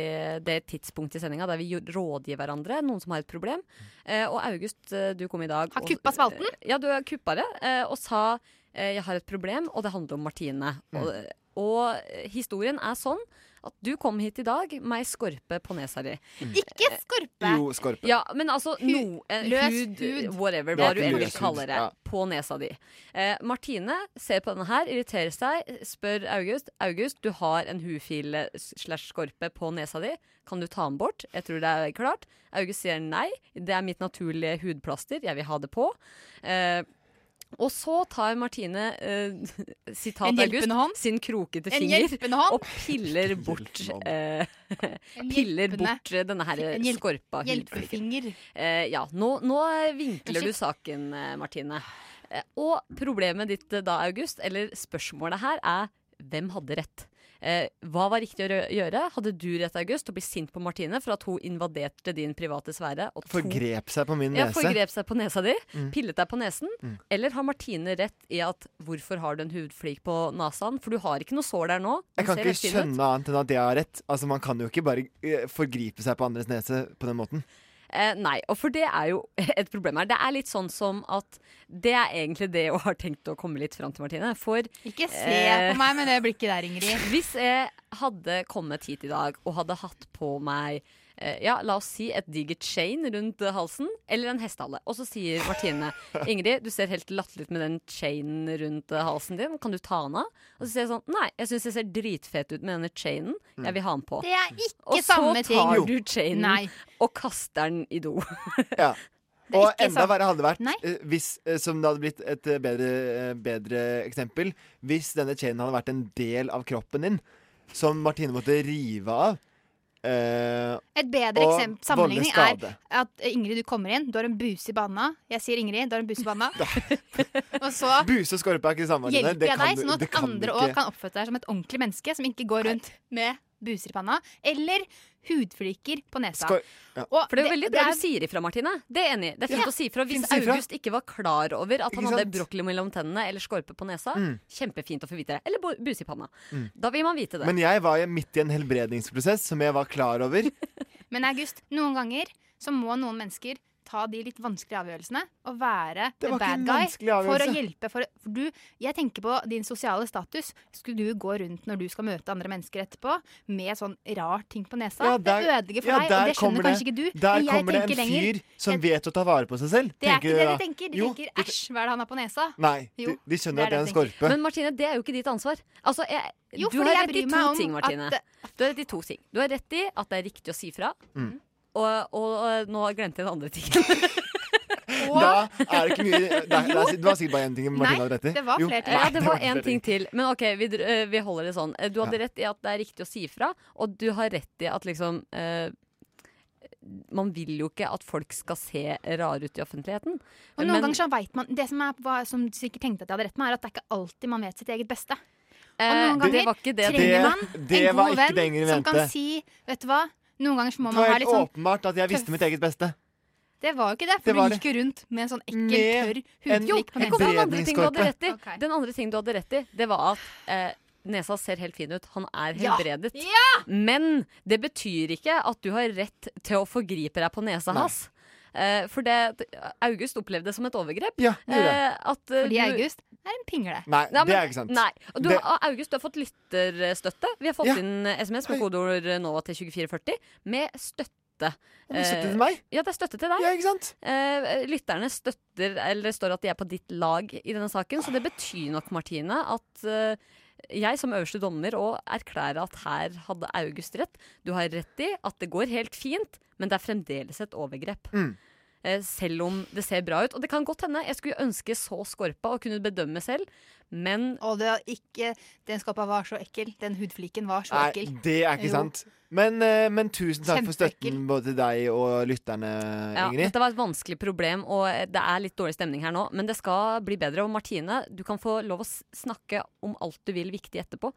G: det tidspunktet i sendinga der vi jo- rådgir hverandre, noen som har et problem. Eh, og August, eh, du kom i dag Har
T: kuppa spalten?
G: ja, du har kuppa det, eh, og sa eh, 'jeg har et problem', og det handler om Martine. Og, og eh, historien er sånn at du kom hit i dag med ei skorpe på nesa di. Eh,
T: Ikke skorpe!
R: Jo, skorpe.
G: Ja, men altså no, eh,
T: løs
G: hud,
T: hud.
G: whatever,
R: Det er
G: hva du
R: ikke
G: enn vil
R: løs hud,
G: kalle det,
R: ja.
G: på nesa di. Eh, Martine ser på denne her, irriterer seg, spør August. August, du har en hufil eh, slash skorpe på nesa di, kan du ta den bort? Jeg tror det er klart. August sier nei, det er mitt naturlige hudplaster, jeg vil ha det på. Eh, og så tar Martine eh, sitat
T: En
G: August
T: hjelpende hånd?
G: sin krokete
T: En
G: finger
T: hjelpende hånd?
G: og piller bort eh, piller
T: hjelpende-
G: bort eh, denne her
T: en hjelp-
G: skorpa hudfløyel.
T: Hjelpefinger.
G: Eh, ja, nå, nå vinkler du
T: Unnskyld.
G: saken, eh, Martine. Eh, og problemet ditt eh, da, August, eller spørsmålet her, er hvem hadde rett? Eh, hva var riktig å rø- gjøre? Hadde du rett, August, å bli sint på Martine for at hun invaderte din private sfære? Og tok-
R: Forgrep seg på min
G: ja,
R: nese.
G: forgrep seg på nesa di,
R: Mm.
G: pillet deg på nesen.
R: Mm.
G: Eller har Martine rett i at hvorfor har du en hudflik på nasaen? For du har ikke noe sår der nå. Du
R: Jeg kan
G: ser
R: ikke
G: helt fin ut.
R: skjønne annet enn at jeg har rett. Altså, Man kan jo ikke bare eh, forgripe seg på andres nese på den måten.
G: Eh, nei, og for det er jo et problem her. Det er litt sånn som at det er egentlig det jeg har tenkt å komme litt fram til, Martine. For
T: Ikke se
G: Eh.
T: på meg med det blikket der, Ingrid.
G: Hvis jeg hadde kommet hit i dag og hadde hatt på meg eh, ja, la oss si et digert chain rundt eh, halsen, eller en hestehale. Og så sier Martine Ingrid, du ser helt latterlig ut med den chainen rundt eh, halsen din, kan du ta den av? Og så sier jeg sånn, nei, jeg syns jeg ser dritfet ut med denne chainen, jeg vil ha den på.
T: Det er ikke
G: og
T: samme
G: Og
T: ting.
G: så
T: Jo.
G: tar du chainen
T: Nei.
G: og kaster den i do.
R: Ja.
G: er
R: Og
G: ikke
R: enda
G: sant.
R: verre hadde det vært eh, hvis, eh, som det hadde blitt et eh, bedre, eh, bedre eksempel, hvis denne chainen hadde vært en del av kroppen din, som Martine måtte rive av. eh,
T: Et bedre
R: og
T: eksempel, sammenligning
R: volde
T: er
R: skade.
T: at eh, Ingrid, du kommer inn, du har en buse i banna. Jeg sier Ingrid, du har en buse i banna. og så
R: Buse og skorpe er ikke det samme. Martine.
T: hjelper
R: Det
T: jeg
R: kan
T: deg,
R: du-
T: sånn at
R: det kan du
T: andre
R: ikke.
T: òg kan oppføre deg som et ordentlig menneske som ikke går rundt med buser i panna eller hudfliker på nesa.
G: Skor-
R: Ja.
T: Og
G: For det er jo
T: det-
G: veldig
T: det
G: bra
T: er-
G: du sier ifra, Martine. Det er jeg enig i. Det er fint
T: Ja.
G: å si ifra. Hvis
T: Fint å si ifra.
G: August ikke var klar over at han
T: Ikke
G: hadde
T: sant?
G: brokkoli mellom tennene eller skorpe på nesa,
R: Mm.
G: kjempefint å få vite det. Eller bo- buse i panna.
R: Mm.
G: Da vil man vite det.
R: Men jeg var jo midt i en helbredningsprosess som jeg var klar over.
T: Men August, noen ganger så må noen mennesker ta de litt vanskelige avgjørelsene og være
R: Det
T: the
R: var ikke
T: bad
R: en
T: guy
R: vanskelig
T: for å
R: avgjørelse.
T: hjelpe. For, for du, jeg tenker på din sosiale status. Skulle du gå rundt når du skal møte andre mennesker etterpå med sånn rar ting på nesa?
R: Ja, der-
T: det ødelegger for
R: ja,
T: deg,
R: der
T: og det
R: kommer
T: skjønner kanskje ikke du.
R: Der
T: men jeg
R: kommer det en
T: tenker lenger.
R: fyr som vet å ta vare på seg selv.
T: Det er
R: tenker
T: ikke det
R: da.
T: de tenker. De
R: Jo,
T: tenker æsj, hva er det han har på nesa?
R: Nei, de,
T: Jo,
R: de skjønner at det er en
T: de tenker.
R: skorpe.
G: Men Martine, det er jo ikke ditt ansvar. Altså, jeg,
T: Jo,
G: du
T: fordi
G: har
T: jeg
G: rett i
T: bryr
G: to
T: meg om
G: ting, Martine.
T: at-
G: Du har rett i to ting. Du har rett i at det er riktig å si fra.
R: Mm.
G: Og, og, og nå glemte jeg den andre tingen.
R: Da er det ikke mye det, er, det, er, det var sikkert bare én ting Martine hadde rett i. Jo.
G: Ja, det var én ting til. Men OK, vi, dr- eh, vi holder det sånn. Eh, Du hadde
R: Ja.
G: rett i at det er riktig å si fra, og du har rett i at liksom eh, Man vil jo ikke at folk skal se rare ut i offentligheten.
T: Og noen ganger så vet man, Det som, er, hva- som du sikkert tenkte at jeg hadde rett med, er at det er ikke alltid man vet sitt eget beste. Og
G: Eh,
T: noen
G: det
T: ganger
G: var ikke det-
T: trenger
R: Det-
T: man
R: det
T: en
R: var
T: god
R: ikke det
T: venn
R: Ingrid
T: som kan
R: mente.
T: si Vet du hva, noen ganger så må
R: Det
T: man
R: var
T: ha
R: helt
T: litt sånn
R: åpenbart at jeg visste mitt eget beste.
T: Det var jo ikke det,
R: Det
T: for
R: var
T: du
R: det.
T: gikk jo rundt med en sånn ekkel,
R: Med
T: tørr
R: en- Jo,
T: hudflikk på
R: jeg
G: Kom på den andre ting du hadde
T: nesa.
G: rett i. Den andre ting du hadde rett i, det var at eh, nesa ser helt fin ut. Han er
T: Ja.
G: helbredet. Men det betyr ikke at du har rett til å forgripe deg på nesa
T: Nei.
G: hans. Eh, for det, August opplevde det som et overgrep.
T: det gjorde jeg.
G: Eh, at, eh,
T: Fordi
G: du-
T: August er en pingle.
R: Nei,
G: Ja,
R: det
G: men-
R: er ikke sant.
G: Nei. Og du,
R: Det-
G: har- August, du har fått lytterstøtte. Vi har fått inn eh, SMS med kodeord eh, NOVA til 2440 med støtte.
R: men støtte
G: Eh,
R: til meg?
G: Ja, det er støtte til deg.
R: Ja, ikke sant?
G: Eh, lytterne støtter, eller står at de er på ditt lag i denne saken, så det betyr nok, Martine, at eh, jeg som øverste dommer og erklærer at her hadde August rett. Du har rett i at det går helt fint, men det er fremdeles et overgrep. Eh, Selv om det ser bra ut. Og det kan godt hende. Jeg skulle ønske så skorpa og kunne bedømme selv, men
T: Og det var ikke, den skappa var så ekkel. Den hudfliken var så
R: Nei,
T: ekkel.
R: det er ikke
T: Jo.
R: sant. Men, eh, men tusen takk for støtten
T: Kjempeekkel.
R: både til deg og lytterne,
G: ja,
R: Ingrid.
G: Dette var et vanskelig problem, og eh, det er litt dårlig stemning her nå. Men det skal bli bedre. Og Martine, du kan få lov å s- snakke om alt du vil viktig etterpå.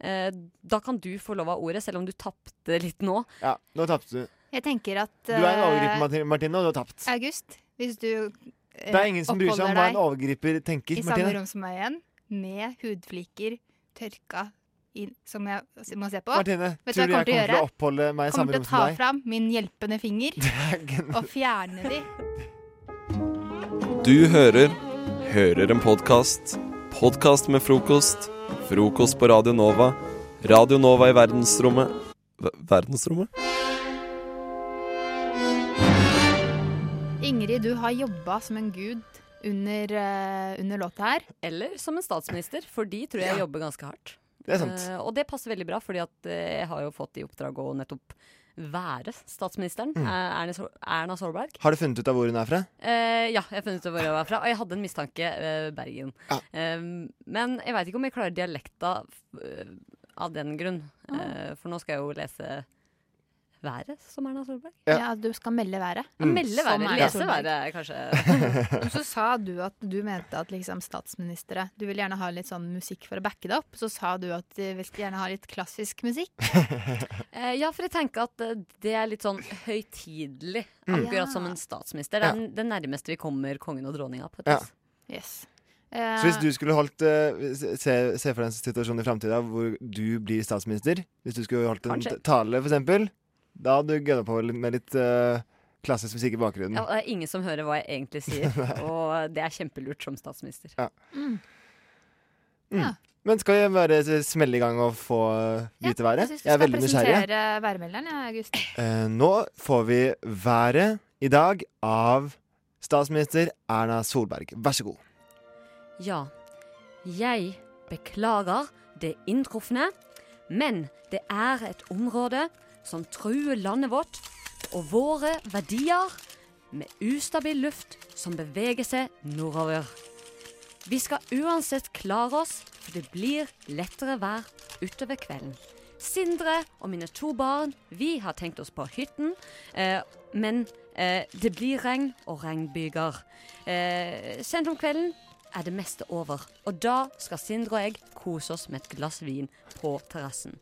G: eh, da kan du få lov av ordet, selv om du tapte litt nå.
R: Ja, nå tapte du.
T: Jeg tenker at
R: Du er en
T: eh,
R: overgriper, Marti- Martine, og du har tapt.
T: August, hvis du eh,
R: Det er ingen som bryr seg om hva en
T: oppholder
R: overgriper tenker.
T: deg i samme
R: Martine.
T: rom som meg igjen, med hudfliker tørka inn, som jeg s- må se på
R: Martine,
T: Vet du
R: tror
T: hva
R: du jeg
T: jeg kommer til
R: kommer
T: å gjøre?
R: til å oppholde meg i samme
T: Kommer til
R: rom
T: å ta
R: som deg?
T: fram min hjelpende finger og fjerne de.
E: Du hører Hører en podkast. Podkast med frokost. Frokost på Radio Nova. Radio Nova i verdensrommet Ver- Verdensrommet?
T: Ingrid, du har jobba som en gud under, eh, under låta her.
G: Eller som en statsminister, for de tror jeg jobber ganske hardt.
T: Det er sant.
G: Eh, og det passer veldig bra, fordi at eh, jeg har jo fått i oppdrag å nettopp være statsministeren.
R: Mm.
G: eh, Erna, Sol Erna Solberg.
R: Har du funnet ut av hvor hun er fra?
G: Eh, ja, jeg har funnet ut hvor jeg var fra. Og jeg hadde en mistanke. eh, Bergen. Eh, men jeg veit ikke om jeg klarer dialekta eh, av den grunn. Eh, for nå skal jeg jo lese været, som Erna Solberg.
T: Ja. du skal melde været.
R: Mm.
G: Ja, melde
T: Som
G: været.
T: Erna
G: Lese
T: Solberg.
G: været, kanskje.
T: Og så sa du at du mente at liksom statsministre Du vil gjerne ha litt sånn musikk for å backe det opp. Så sa du at du vil gjerne ha litt klassisk musikk.
G: Eh, ja, for jeg tenker at eh, det er litt sånn høytidelig.
T: Mm.
G: Akkurat
T: Ja.
G: som en statsminister. Det er
R: Ja.
G: den- det nærmeste vi kommer kongen og dronninga. på et
R: Ja.
G: vis.
T: Yes.
R: Så
T: Eh.
R: hvis du skulle holdt eh, se, se for deg en situasjon i framtida hvor du blir statsminister. Hvis du skulle holdt en
G: Kanskje.
R: tale, for eksempel. Da hadde du gønna på litt- med litt eh, klassisk musikk i bakgrunnen.
G: Ja, og det er ingen som hører hva jeg egentlig sier, og det er kjempelurt som statsminister.
R: Ja. Mm. Men skal jeg bare s- smelle i gang og få eh, vite
T: Jeg
R: været?
T: syns du
R: Jeg er
T: skal
R: veldig nysgjerrig.
T: presentere værmelderen, ja, August.
R: Eh, nå får vi været i dag av statsminister Erna Solberg. Vær så god.
G: Ja, jeg beklager det inntrufne, men det er et område som truer landet vårt og våre verdier med ustabil luft som beveger seg nordover. Vi skal uansett klare oss, for det blir lettere vær utover kvelden. Sindre og mine to barn, vi har tenkt oss på hytten, eh, men eh, det blir regn og regnbyger. Eh, sent om kvelden er det meste over, og da skal Sindre og jeg kose oss med et glass vin på terrassen.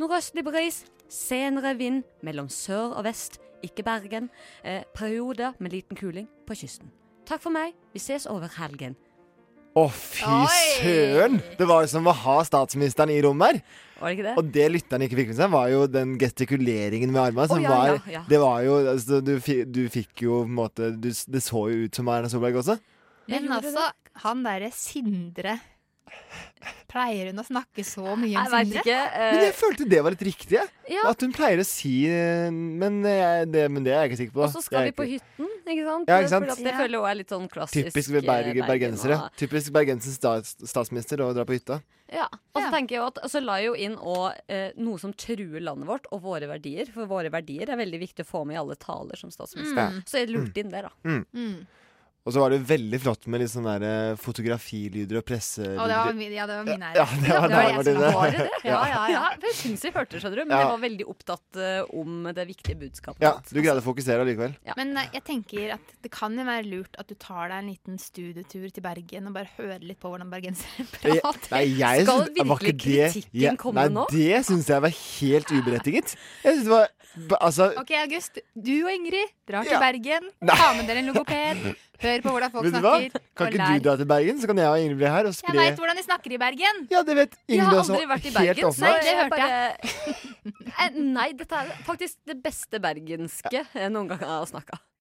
G: Nordøstlig bris, senere vind mellom sør og vest, ikke Bergen. Eh, perioder med liten kuling på kysten. Takk for meg, vi ses over helgen.
R: Å, fy søren! Det var jo som å ha statsministeren i rommet her.
G: Var det ikke det?
R: Og det lytterne ikke fikk med seg, var jo den gestikuleringen med armene. som
G: Å, ja,
R: var,
G: ja, ja.
R: Det var jo altså, du, fi- du fikk jo på en måte du, s- Det så jo ut som Erna Solberg også.
T: Men altså, han derre Sindre Pleier hun å snakke så mye om
G: Jeg vet
T: Sindre?
G: ikke, Eh,
R: Men jeg følte det var litt riktig. jeg.
G: Ja.
R: At hun pleier å si eh, Men, jeg, det, men det er jeg ikke sikker på.
G: Og så skal
R: Det er
G: vi på
R: ikke-
G: hytten, ikke sant?
R: Ja, ikke sant?
G: For at det
R: Ja.
G: føler jeg også er litt sånn klassisk.
R: Typisk ved
G: eh,
R: Berg, bergensere.
G: og-
R: Typisk bergensens stats, statsminister å dra på hytta.
G: Ja, og så tenker jeg jo at og så la jeg jo inn og, eh, noe som truer landet vårt og våre verdier. For våre verdier er veldig viktig å få med i alle taler som statsminister.
R: Mm. Ja.
G: Så jeg lurte inn det, da.
R: Mm.
T: Mm.
R: Og så var det veldig flott med litt sånne der eh, fotografilyder og presselyder.
T: Å, det var min, ja, det var min ære.
R: Ja, det var deg,
T: jeg som
R: Martine.
T: var-
G: Var det det? Ja, ja, ja. For jeg syns jeg hørte det, skjønner du. Men
R: Ja.
G: jeg var veldig opptatt eh, om det viktige budskapet.
R: Ja, du greide å fokusere allikevel.
T: Men eh, jeg tenker at det kan jo være lurt at du tar deg en liten studietur til Bergen og bare hører litt på hvordan bergensere
R: Jeg-
T: prater.
R: Nei, jeg
T: Skal
R: syns- var
T: virkelig
R: ikke det-
T: kritikken
R: jeg-
T: komme
R: nei,
T: nå?
R: Det syns jeg var helt uberettiget. Jeg synes det var ba- Altså
T: OK, August. Du og Ingrid drar til
R: Ja.
T: Bergen.
R: Nei.
T: Ta med dere en logoped. Hør på hvordan folk
R: Vet du hva?
T: snakker.
R: Kan
T: og
R: ikke
T: lær.
R: du dra til Bergen, så kan jeg og Ingrid bli her og
T: Jeg
R: spre
T: veit hvordan de snakker i Bergen.
R: Ja, det vet
G: Jeg har
R: Ingrid også.
G: aldri vært i
R: helt
G: Bergen, så
R: åpenbart.
T: det
G: jeg
T: hørte
G: bare Eh, Nei, dette er faktisk det beste bergenske jeg noen gang har snakka.